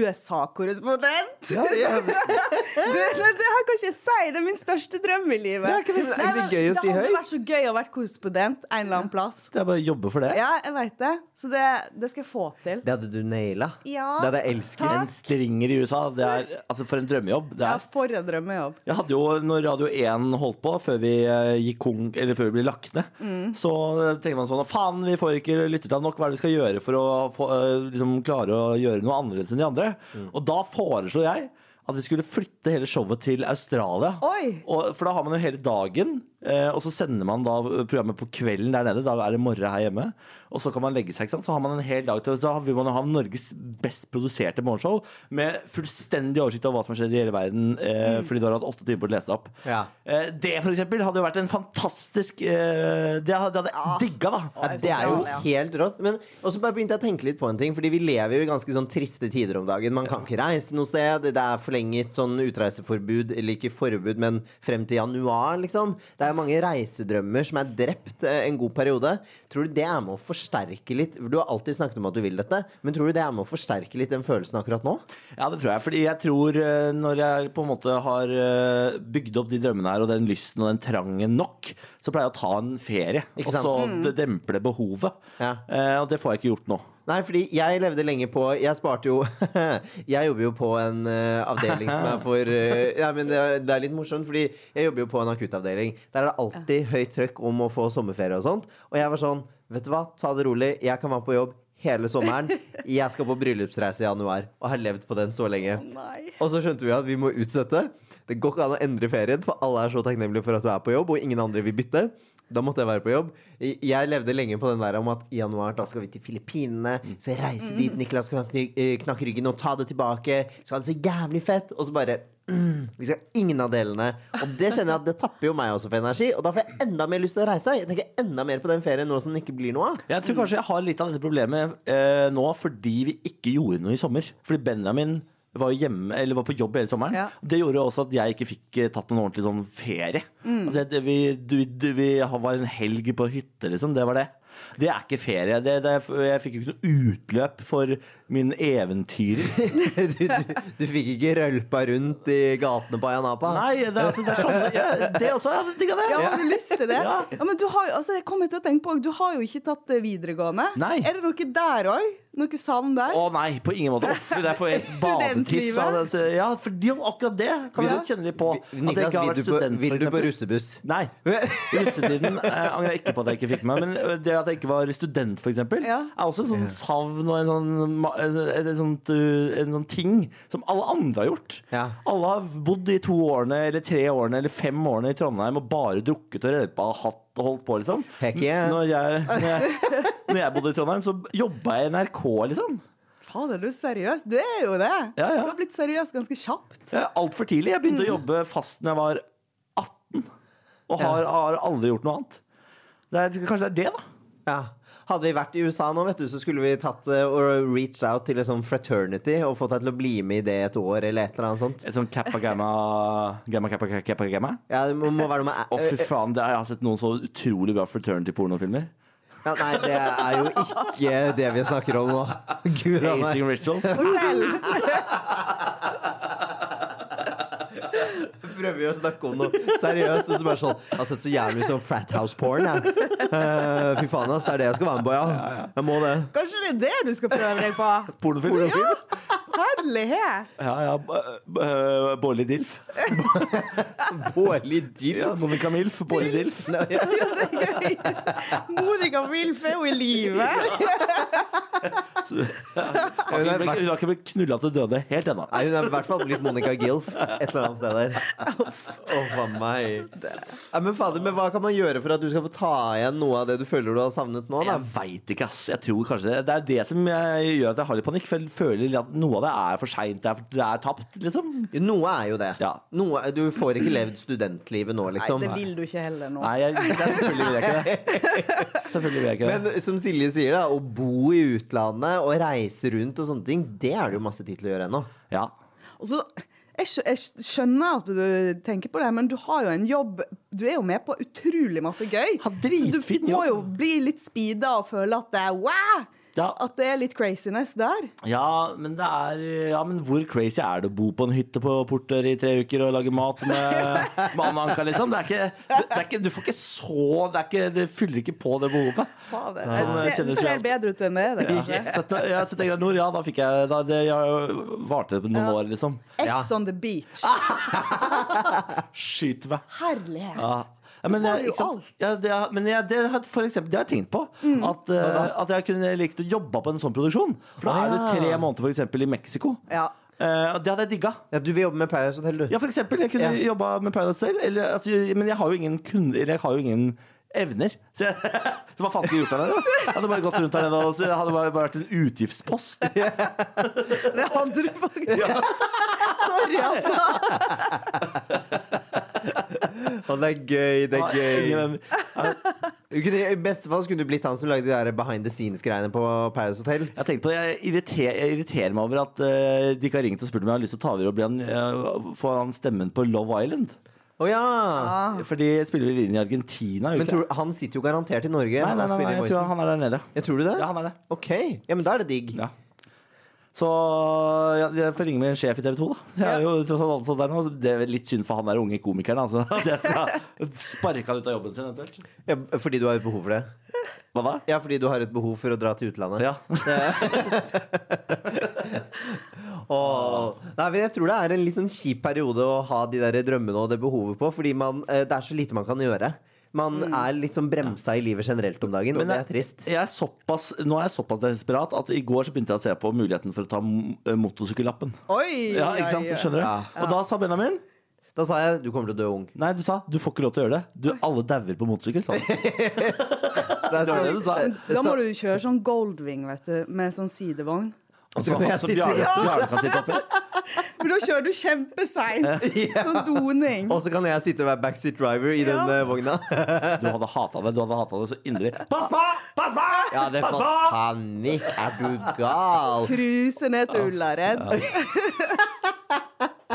[SPEAKER 3] USA-korrespondent!
[SPEAKER 2] Ja, det er-
[SPEAKER 3] Du, det, det her kan ikke jeg si! Det er min største drøm i livet.
[SPEAKER 2] Det er ikke det- er det
[SPEAKER 3] men
[SPEAKER 2] gøy å si
[SPEAKER 3] Det
[SPEAKER 2] høyt?
[SPEAKER 3] hadde vært så gøy å være korrespondent en eller annen plass.
[SPEAKER 1] Det er bare å jobbe for det.
[SPEAKER 3] Ja, jeg veit det. Så det, det skal jeg få til.
[SPEAKER 2] Det hadde du naila.
[SPEAKER 3] Ja.
[SPEAKER 2] Det hadde jeg elsket.
[SPEAKER 3] Takk.
[SPEAKER 1] En stringer i USA, det er altså for en drømmejobb. Det
[SPEAKER 3] Ja,
[SPEAKER 1] er.
[SPEAKER 3] for en drømmejobb.
[SPEAKER 1] Jeg hadde jo, når Radio 1 holdt på, før vi eh, gikk kong, eller før vi ble lagt ned, så eh, tenkte man sånn Faen, vi får ikke lyttertall nok. Hva er det vi skal gjøre for å få, eh, liksom, klare å gjøre noe annerledes enn de andre? Og da foreslo jeg at vi skulle flytte hele showet til Australia.
[SPEAKER 3] Oi!
[SPEAKER 1] Og, for da har man jo hele dagen, eh, og så sender man da programmet på kvelden der nede. Da er det morgen her hjemme. Og så kan man legge seg, ikke sant. Så har man en hel dag til Så vil man jo ha Norges best produserte morgenshow med fullstendig oversikt over hva som har skjedd i hele verden, eh, fordi du har hatt åtte timer på å lese det opp.
[SPEAKER 2] Mm. Ja.
[SPEAKER 1] Eh, det for eksempel hadde jo vært en fantastisk eh, Det hadde det hadde jeg digga, da.
[SPEAKER 2] Ah. Ja, det er jo
[SPEAKER 3] Ja.
[SPEAKER 2] helt rått. Men og så bare begynte jeg å tenke litt på en ting, fordi vi lever jo i ganske sånn triste tider om dagen. Man kan ikke reise noe sted. Det er forlenget sånn utreiseforbud, eller ikke forbud, men frem til januar, liksom. Det er mange reisedrømmer som er drept eh, en god periode. Tror du det er med å forsterke litt Du har alltid snakket om at du vil dette, men tror du det er med å forsterke litt den følelsen akkurat nå?
[SPEAKER 1] Ja, det tror jeg. Fordi jeg tror eh, når jeg på en måte har eh, bygd opp de drømmene her, og den lysten og den trangen nok, så pleier jeg å ta en ferie.
[SPEAKER 2] Ikke
[SPEAKER 1] Og
[SPEAKER 2] sant?
[SPEAKER 1] så det demper det behovet.
[SPEAKER 2] Ja.
[SPEAKER 1] Eh, og det får jeg ikke gjort nå.
[SPEAKER 2] Nei, fordi jeg levde lenge på Jeg sparte jo Jeg jobber jo på en eh, avdeling som er for eh, Ja, men det, er- det er litt morsomt, fordi jeg jobber jo på en akuttavdeling. Der er det alltid høyt trøkk om å få sommerferie og sånt. Og jeg var sånn Vet du hva, ta det rolig. Jeg kan være på jobb hele sommeren. Jeg skal på bryllupsreise i januar. Og har levd på den så lenge.
[SPEAKER 3] Nei.
[SPEAKER 2] Og så skjønte vi at vi må utsette. Det går ikke an å endre ferien, for alle er så takknemlige for at du er på jobb, og ingen andre vil bytte. Da måtte jeg være på jobb. I- Jeg levde lenge på den der om at i januar da skal vi til Filippinene. Så jeg reiser dit, Niklas kan kny- eh, knakke ryggen og ta det tilbake. Så er det så jævlig fett. Og så bare mm, Vi skal ha ingen av delene. Og det kjenner jeg at det tapper jo meg også for energi. Og da får jeg enda mer lyst til å reise. Jeg tenker enda mer på den ferien nå som den ikke blir noe av.
[SPEAKER 1] Jeg tror kanskje jeg har litt av dette problemet eh, nå fordi vi ikke gjorde noe i sommer. Fordi Benjamin var jo hjemme, eller var på jobb hele sommeren.
[SPEAKER 3] Ja.
[SPEAKER 1] Det gjorde også at jeg ikke fikk eh, tatt noen ordentlig sånn ferie.
[SPEAKER 3] Mm.
[SPEAKER 1] Altså, jeg- det, vi, du, du, vi har- var en helg på hytte, liksom. Det var det. Det er ikke ferie. Det, det, jeg fikk jo ikke noe utløp for min eventyrer.
[SPEAKER 2] Du, du, du fikk ikke rølpa rundt i gatene på Ayanapa.
[SPEAKER 1] Nei, det, er- altså, det er sånn ja, Det også, jeg hadde digga det.
[SPEAKER 3] Ja, har du lyst til det?
[SPEAKER 1] Ja.
[SPEAKER 3] Ja, men du har, jo- altså, jeg kommer til å tenke på, du har jo ikke tatt det videregående.
[SPEAKER 1] Nei.
[SPEAKER 3] Er det noe der òg? Noe savn der?
[SPEAKER 1] Å nei, på ingen måte. Uff, det er for et badetiss. av
[SPEAKER 3] Studentlivet.
[SPEAKER 1] det. Ja, for de, akkurat det kan
[SPEAKER 3] Ja.
[SPEAKER 1] du kjenne litt på. At jeg
[SPEAKER 2] Niklas,
[SPEAKER 1] ikke har
[SPEAKER 2] vil
[SPEAKER 1] vært
[SPEAKER 2] du på,
[SPEAKER 1] student, for
[SPEAKER 2] vil du på
[SPEAKER 1] eksempel.
[SPEAKER 2] russebuss?
[SPEAKER 1] Nei. I russetiden eh, angrer jeg ikke på at jeg ikke fikk med meg. Men det at jeg ikke var student, f.eks., eksempel
[SPEAKER 3] Ja.
[SPEAKER 1] er også en sånn savn og en sånn, ma- en- en sånt, uh, en sånn ting som alle andre har gjort.
[SPEAKER 2] Ja.
[SPEAKER 1] Alle har bodd i to årene eller tre årene eller fem årene i Trondheim og bare drukket og røypa og hatt og holdt på, liksom.
[SPEAKER 2] Heck yeah.
[SPEAKER 1] Når jeg, når jeg, når jeg bodde i Trondheim, så jobba jeg i NRK, liksom.
[SPEAKER 3] Fader, du er seriøs? Du er jo det!
[SPEAKER 1] Ja, ja.
[SPEAKER 3] Du har blitt seriøs ganske kjapt.
[SPEAKER 1] Altfor tidlig. Jeg begynte å jobbe fast når jeg var 18, og har, har aldri gjort noe annet. Det er, kanskje det er det, da.
[SPEAKER 2] Ja. Hadde vi vært i USA nå, vet du, så skulle vi tatt eh, og reached out til et sånt fraternity og fått deg til å bli med i det et år, eller et eller annet sånt.
[SPEAKER 1] Et sånn kappa gamma Gamma kappa kappa, kappa gamma?
[SPEAKER 2] Ja, det må, må være noe
[SPEAKER 1] Å,
[SPEAKER 2] med
[SPEAKER 1] fy faen. Det er, jeg har sett noen så utrolig bra fraternity-pornofilmer.
[SPEAKER 2] ja, Nei, det er jo ikke det vi snakker om nå. Gud a meg.
[SPEAKER 1] Acing Rituals.
[SPEAKER 3] Fortell!
[SPEAKER 2] prøver vi å snakke om noe seriøst, og så bare sånn Jeg har sett så jævlig mye sånn frat house porn, jeg. Eh, fy faen, ass. Det er det jeg skal være med på, ja. Jeg må det.
[SPEAKER 3] Kanskje det er det du skal prøve deg på?
[SPEAKER 1] Pornofilm? Ja,
[SPEAKER 3] Herlighet!
[SPEAKER 1] ja. ja. b- øh, Bårli Dilf.
[SPEAKER 2] Bårli Dill.
[SPEAKER 1] Ja, Monica Milf. Bårli Dilf.
[SPEAKER 3] Monica Wilf er jo i live!
[SPEAKER 1] Hun har ikke blitt- hun har ikke blitt knulla til døde helt ennå.
[SPEAKER 2] Nei, hun er i hvert fall blitt Monica Gilf et eller annet sted der. Åh, faen meg. Nei, men fader, men hva kan man gjøre for at du skal få ta igjen noe av det du føler du har savnet nå, da?
[SPEAKER 1] Jeg veit ikke, ass. Jeg tror kanskje det. Det er det som jeg gjør at jeg har litt panikk. For jeg føler at noe av det er for seint. Det, er- det er tapt, liksom.
[SPEAKER 2] Noe er jo det.
[SPEAKER 1] Ja.
[SPEAKER 2] Noe, du får ikke levd studentlivet nå,
[SPEAKER 3] Nei,
[SPEAKER 2] liksom.
[SPEAKER 3] det vil du ikke heller nå.
[SPEAKER 1] Nei, jeg, det er selvfølgelig vil jeg ikke det. Selvfølgelig vil jeg ikke det.
[SPEAKER 2] Men som Silje sier, da, å bo i utlandet og reise rundt og sånne ting, det er det jo masse tid til å gjøre ennå.
[SPEAKER 1] Ja.
[SPEAKER 3] Og så, jeg, skj- jeg skjønner at du tenker på det, men du har jo en jobb. Du er jo med på utrolig masse gøy.
[SPEAKER 1] Ha dritfin
[SPEAKER 3] så du må
[SPEAKER 1] jobb.
[SPEAKER 3] jo bli litt speeda og føle at det er wow!
[SPEAKER 1] Ja.
[SPEAKER 3] At det er litt craziness der.
[SPEAKER 1] Ja, men det er Ja, men hvor crazy er det å bo på en hytte på Portør i tre uker og lage mat med, med Anna Anka, liksom? Det er ikke, det er ikke Du får ikke så Det, er ikke, det fyller ikke på det behovet.
[SPEAKER 3] Fader.
[SPEAKER 1] Ja, det
[SPEAKER 3] Det ser, det
[SPEAKER 1] kjennes
[SPEAKER 3] ser
[SPEAKER 1] jo-
[SPEAKER 3] bedre ut enn det er, det, kanskje.
[SPEAKER 1] 17, ja, 71 grader nord, ja, da fikk jeg da, det, Jeg varte på noen år, liksom.
[SPEAKER 3] Ex on the beach.
[SPEAKER 1] Ah. Skyt meg.
[SPEAKER 3] Herlighet.
[SPEAKER 1] Ja. Ja, men,
[SPEAKER 3] får
[SPEAKER 1] jeg,
[SPEAKER 3] jo
[SPEAKER 1] ikke sant?
[SPEAKER 3] alt. Mm.
[SPEAKER 1] Ja, det, er- men jeg, det, har- for eksempel, det har jeg tenkt på. At, eh, at jeg kunne likt å jobbe på en sånn produksjon. For da er
[SPEAKER 2] Ah,
[SPEAKER 1] du
[SPEAKER 2] ja.
[SPEAKER 1] tre måneder for eksempel, i Mexico.
[SPEAKER 3] Ja.
[SPEAKER 1] Eh, og det hadde jeg digga.
[SPEAKER 2] Ja, du vil jobbe med Paradise Hotel, du.
[SPEAKER 1] Ja, for eksempel. Jeg kunne
[SPEAKER 2] Ja.
[SPEAKER 1] jobba med Paradise Hotel, eller, altså, men jeg har jo ingen kunder Eller jeg har jo ingen evner. Så, jeg, så hva faen skulle jeg gjort der nede? da? Jeg hadde bare gått rundt der nede og så hadde bare, bare vært en utgiftspost.
[SPEAKER 3] Det hadde du faktisk. Sorry, altså.
[SPEAKER 2] Å, det er gøy, det er gøy.
[SPEAKER 1] Ingen evner.
[SPEAKER 2] Du kunne, I beste fall så kunne du blitt han som lagde de der behind the scenes-greiene på Paradise Hotel.
[SPEAKER 1] Jeg tenkte på det, jeg irriterer, jeg irriterer meg over at eh, de ikke har ringt og spurt om jeg har lyst til å ta over og bli han, eh, få han stemmen på Love Island.
[SPEAKER 2] Å ja!
[SPEAKER 3] Ah.
[SPEAKER 1] For de spiller vel inn i Argentina. gjør
[SPEAKER 2] Men
[SPEAKER 1] ikke
[SPEAKER 2] tror, han sitter jo garantert i Norge.
[SPEAKER 1] det? nei, nei,
[SPEAKER 2] når han
[SPEAKER 1] nei, nei,
[SPEAKER 2] spiller
[SPEAKER 1] jeg tror
[SPEAKER 2] Voicen.
[SPEAKER 1] han er der nede.
[SPEAKER 2] Ja, tror du det?
[SPEAKER 1] Ja, han er det.
[SPEAKER 2] Ok, ja, men da er det digg.
[SPEAKER 1] Ja. Så ja, jeg får ringe min sjef i TV 2, da. Jeg er jo tross alt ansatt der nå. så Det er litt synd for han der unge komikeren, altså. At jeg skal sparke han ut av jobben sin, eventuelt.
[SPEAKER 2] Ja, fordi du har et behov for det.
[SPEAKER 1] Hva da?
[SPEAKER 2] Ja, fordi du har et behov for å dra til utlandet.
[SPEAKER 1] Ja.
[SPEAKER 2] Åh. Nei, men jeg tror det er en litt sånn kjip periode å ha de der drømmene og det behovet på, fordi man, eh, det er så lite man kan gjøre. Man er litt sånn bremsa i livet generelt om dagen, og det er trist.
[SPEAKER 1] Mm. Jeg er såpass, nå er jeg såpass desperat at i går så begynte jeg å se på muligheten for å ta m- eh, motorsykkellappen.
[SPEAKER 3] Oi!
[SPEAKER 1] Ja, ikke sant?
[SPEAKER 3] oi, oi.
[SPEAKER 1] Skjønner du?
[SPEAKER 2] Ja.
[SPEAKER 1] Og da sa Benjamin
[SPEAKER 2] Da sa jeg du kommer til å dø ung.
[SPEAKER 1] Nei, du sa du får ikke lov til å gjøre det. Du, alle dauer på motorsykkel, sa han.
[SPEAKER 2] Det er
[SPEAKER 1] var det
[SPEAKER 2] sånn-
[SPEAKER 1] du sa.
[SPEAKER 3] Da må du kjøre sånn Goldwing, vet du, med sånn sidevogn.
[SPEAKER 1] Og
[SPEAKER 2] Så
[SPEAKER 1] så
[SPEAKER 2] kan jeg
[SPEAKER 1] så
[SPEAKER 2] sitte-
[SPEAKER 1] Bjarne, Bjarne kan sitte oppi.
[SPEAKER 3] For da kjører du kjempeseint. Sånn doning.
[SPEAKER 2] Og så kan jeg sitte og være backseat driver i den
[SPEAKER 3] Ja.
[SPEAKER 2] eh, vogna.
[SPEAKER 1] Du hadde hata det. Du hadde hata det så inderlig.
[SPEAKER 2] Pass på! Pass på! Ja, det er
[SPEAKER 1] Pass
[SPEAKER 2] fått
[SPEAKER 1] på!
[SPEAKER 2] panikk. Er du gal?
[SPEAKER 3] Cruise ned til Ullared.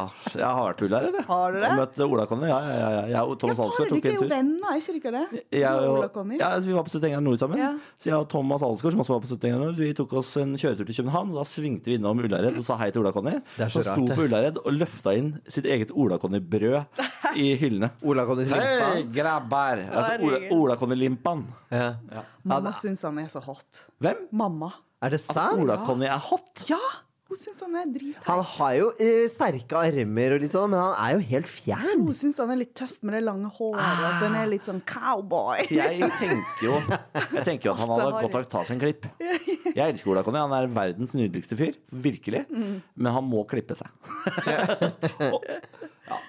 [SPEAKER 1] Asj, Jeg har vært ulærer, jeg.
[SPEAKER 3] Har du det?
[SPEAKER 1] Jeg møtte Ola Conny. Ja, ja, ja, ja. Jeg og
[SPEAKER 3] Ja,
[SPEAKER 1] Thomas
[SPEAKER 3] faen,
[SPEAKER 1] Alsgaard
[SPEAKER 3] dere
[SPEAKER 1] tok
[SPEAKER 3] er
[SPEAKER 1] en
[SPEAKER 3] jo
[SPEAKER 1] tur.
[SPEAKER 3] venner, er ikke dere det?
[SPEAKER 1] Jeg
[SPEAKER 3] Når Ola
[SPEAKER 1] og,
[SPEAKER 3] kom inn.
[SPEAKER 1] ja, så vi var på 70 grader nord sammen.
[SPEAKER 3] Ja.
[SPEAKER 1] Så jeg og Thomas Alsgaard, som også var på 70 grader nord, vi tok oss en kjøretur til København. og Da svingte vi innom Ullared og sa hei til Ola Conny.
[SPEAKER 2] er så
[SPEAKER 1] Han sto
[SPEAKER 2] rart, det.
[SPEAKER 1] på Ullared og løfta inn sitt eget Ola Conny-brød i hyllene.
[SPEAKER 2] Ola Conny
[SPEAKER 1] Hei,
[SPEAKER 2] Slimpa.
[SPEAKER 1] grabber! Altså,
[SPEAKER 3] Herregud.
[SPEAKER 1] Ola Conny-limpan.
[SPEAKER 2] Ja.
[SPEAKER 3] Mamma syns han er så hot.
[SPEAKER 1] Hvem?
[SPEAKER 3] Mamma.
[SPEAKER 2] Er det
[SPEAKER 1] At
[SPEAKER 2] sant?
[SPEAKER 1] Ola Conny er hot?
[SPEAKER 3] Ja! Hun syns han er
[SPEAKER 2] Han
[SPEAKER 3] dritteit.
[SPEAKER 2] har jo eh, sterke armer og litt sånn, men han er jo helt fjern.
[SPEAKER 3] Hun syns han er litt tøff med det lange håret, og at han er litt sånn cowboy.
[SPEAKER 1] Jeg tenker jo Jeg tenker jo at han hadde godt av å ta seg en klipp. Jeg elsker Ola Conny. Han er verdens nydeligste fyr. Virkelig. Men han må klippe seg. Så, ja.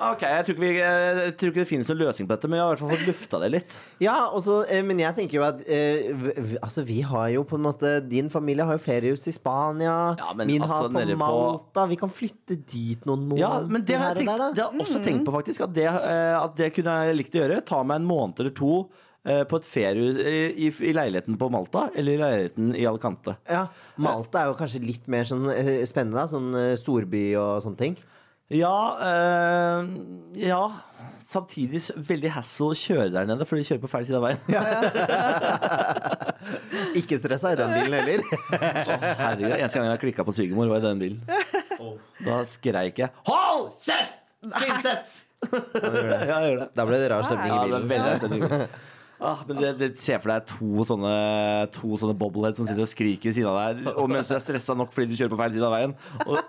[SPEAKER 1] Ok, jeg tror, ikke vi, jeg tror ikke det finnes noen løsning på dette, men jeg har i hvert fall fått lufta det litt.
[SPEAKER 2] Ja, også, eh, men jeg tenker jo at eh, v- v- Altså, vi har jo på en måte Din familie har jo feriehus i Spania.
[SPEAKER 1] Ja, men
[SPEAKER 2] min
[SPEAKER 1] altså,
[SPEAKER 2] har på
[SPEAKER 1] nede på-
[SPEAKER 2] Malta. Vi kan flytte dit noen måneder
[SPEAKER 1] Ja, men det har jeg,
[SPEAKER 2] her og
[SPEAKER 1] tenkt, det
[SPEAKER 2] der, da. Mm.
[SPEAKER 1] har jeg også tenkt på, faktisk. At det, eh, at det kunne jeg likt å gjøre. Ta meg en måned eller to eh, på et feriehus eh, i, i leiligheten på Malta eller i leiligheten i Alicante.
[SPEAKER 2] Ja, Malta er jo kanskje litt mer sånn eh, spennende, da. Sånn eh, storby og sånne ting.
[SPEAKER 1] Ja, eh, ja. Samtidig s- veldig hassle å kjøre der nede, for de kjører på feil side av veien.
[SPEAKER 2] Ikke stressa i den bilen heller.
[SPEAKER 1] Herregud, Eneste gang jeg klikka på svigermor, var i den bilen. Da skreik jeg 'hold kjeft, Sinnsett!' Ja, jeg gjør det.
[SPEAKER 2] Da ble det rar stemning
[SPEAKER 1] Ja,
[SPEAKER 2] i
[SPEAKER 1] det er
[SPEAKER 2] bilen.
[SPEAKER 1] veldig anstendig. Ah, men det, det Se for deg to sånne, to sånne bobbleheads som sitter og skriker ved siden av deg. Og mens du er stressa nok fordi du kjører på feil side av veien. Og,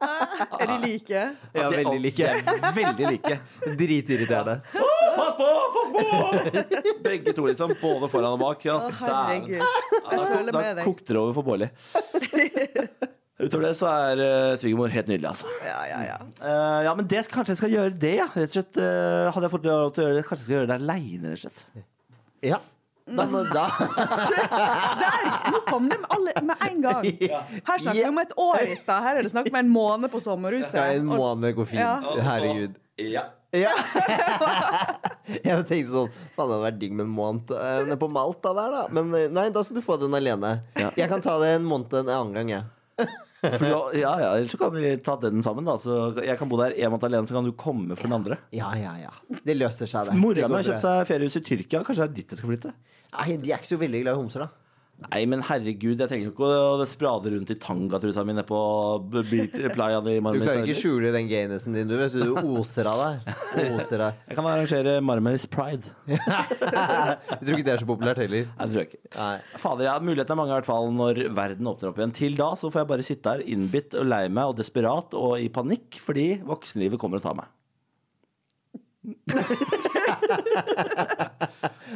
[SPEAKER 3] Er de like?
[SPEAKER 2] Ja,
[SPEAKER 1] at de-
[SPEAKER 2] veldig like.
[SPEAKER 1] de er Veldig like.
[SPEAKER 2] Dritirriterende.
[SPEAKER 1] Å, pass på! Pass på! Begge to, liksom. Både foran og bak. Ja.
[SPEAKER 3] Å, herregud.
[SPEAKER 1] Da-
[SPEAKER 3] Jeg føler
[SPEAKER 1] da
[SPEAKER 3] med deg.
[SPEAKER 1] kokte det over for Bårli. Utover det så er eh, svigermor helt nydelig, altså.
[SPEAKER 3] Ja, ja, ja.
[SPEAKER 1] Eh, ja, men det, kanskje jeg skal gjøre det, ja. Rett og slett, eh, hadde jeg fått lov til å gjøre det, kanskje jeg skal gjøre det aleine, rett og slett.
[SPEAKER 2] Ja. Da, må- da.
[SPEAKER 3] Nå kom det med, alle, med en gang. Her snakker vi om et år i stad. Her er det snakk om en måned på sommerhuset.
[SPEAKER 2] Ja, en
[SPEAKER 3] Og-
[SPEAKER 2] måned går fint.
[SPEAKER 3] Ja.
[SPEAKER 2] Herregud.
[SPEAKER 1] Ja.
[SPEAKER 2] Ja. Jeg tenkte sånn Faen, det hadde vært digg med en måned eh, nede på Malta der, da. Men eh, nei, da skal du få den alene.
[SPEAKER 1] Ja.
[SPEAKER 2] Jeg kan ta det en måned en annen gang, jeg.
[SPEAKER 1] For da- ja, ja, ellers så kan vi ta den sammen, da. Så jeg kan bo der en måned alene, så kan du komme for den andre.
[SPEAKER 2] Ja, ja, ja. Det løser seg, det. Det
[SPEAKER 1] Mora
[SPEAKER 2] går
[SPEAKER 1] mi har
[SPEAKER 2] bra.
[SPEAKER 1] kjøpt seg feriehus i Tyrkia. Kanskje det er dit jeg skal flytte?
[SPEAKER 2] Nei, de er ikke så veldig glad i homser, da.
[SPEAKER 1] Nei, men herregud, jeg trenger jo ikke å sprade rundt i tangatrusa mi nede på b- beach- playa di.
[SPEAKER 2] Du
[SPEAKER 1] Marmaris
[SPEAKER 2] klarer ikke
[SPEAKER 1] Island.
[SPEAKER 2] skjule den gaynessen din, du. vet Du Du oser av deg. Oser av.
[SPEAKER 1] Jeg kan arrangere Marmaris Pride.
[SPEAKER 2] Jeg tror ikke det er så populært heller.
[SPEAKER 1] Nei, det tror jeg ikke.
[SPEAKER 2] Nei.
[SPEAKER 1] Fader, ja, Muligheten er mange i hvert fall når verden åpner opp igjen. Til da så får jeg bare sitte her innbitt og lei meg og desperat og i panikk fordi voksenlivet kommer og tar meg.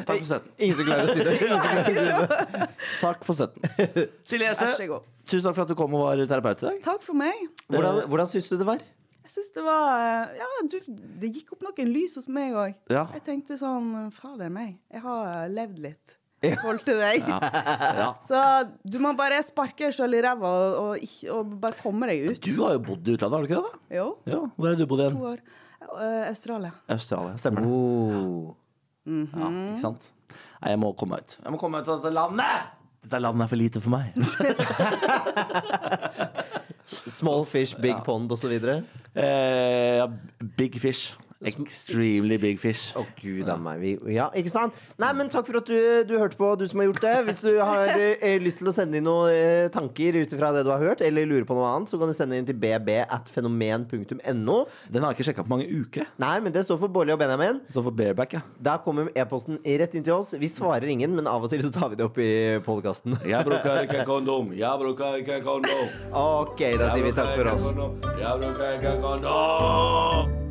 [SPEAKER 1] Takk for støtten.
[SPEAKER 2] Ingen som klarer å si det. Ingen som klarer å si det.
[SPEAKER 1] Takk for støtten. Silje
[SPEAKER 3] Vær så
[SPEAKER 1] Ese,
[SPEAKER 3] god.
[SPEAKER 1] tusen takk for at du kom og var terapeut i dag.
[SPEAKER 3] Takk for meg.
[SPEAKER 2] Hvordan, hvordan syns du det var?
[SPEAKER 3] Jeg syns det var eh, Ja, du, det gikk opp noen lys hos meg òg.
[SPEAKER 1] Ja.
[SPEAKER 3] Jeg tenkte sånn Fader meg, jeg har levd litt i forhold til deg.
[SPEAKER 1] Ja.
[SPEAKER 3] Så du må bare sparke deg sjøl i ræva og, og, ikke- og bare komme deg ut.
[SPEAKER 1] Du har jo bodd i utlandet, har du ikke det? da?
[SPEAKER 3] Jo,
[SPEAKER 1] Ja, Hvor er det du bodd igjen?
[SPEAKER 3] to år. Eh, Australia.
[SPEAKER 1] Australia, stemmer det.
[SPEAKER 2] Oh.
[SPEAKER 1] Ja,
[SPEAKER 2] Mhm.
[SPEAKER 1] ikke sant? Nei, jeg må komme meg ut. Jeg må komme meg ut av dette landet! Dette landet er for lite for meg.
[SPEAKER 2] Small fish, big pond og så videre
[SPEAKER 1] Eh, ja, big fish. Extremely big fish.
[SPEAKER 2] Å, gud a meg. Vi, ja, ikke sant? Nei, men takk for at du, du hørte på, du som har gjort det. Hvis du har eh, lyst til å sende inn noen eh, tanker ut ifra det du har hørt, eller lurer på noe annet, så kan du sende inn til bb.fenomen.no.
[SPEAKER 1] Den har jeg ikke sjekka på mange uker. jeg.
[SPEAKER 2] Nei, men det står for Bårli og Benjamin.
[SPEAKER 1] Så for bareback, ja.
[SPEAKER 2] Der kommer e-posten rett inn til oss. Vi svarer ingen, men av og til så tar vi det opp i podkasten.
[SPEAKER 1] Jeg bruker ikke kondom. Jeg bruker ikke kondom.
[SPEAKER 2] OK, da sier vi takk for oss.
[SPEAKER 1] Jeg bruker ikke kondom.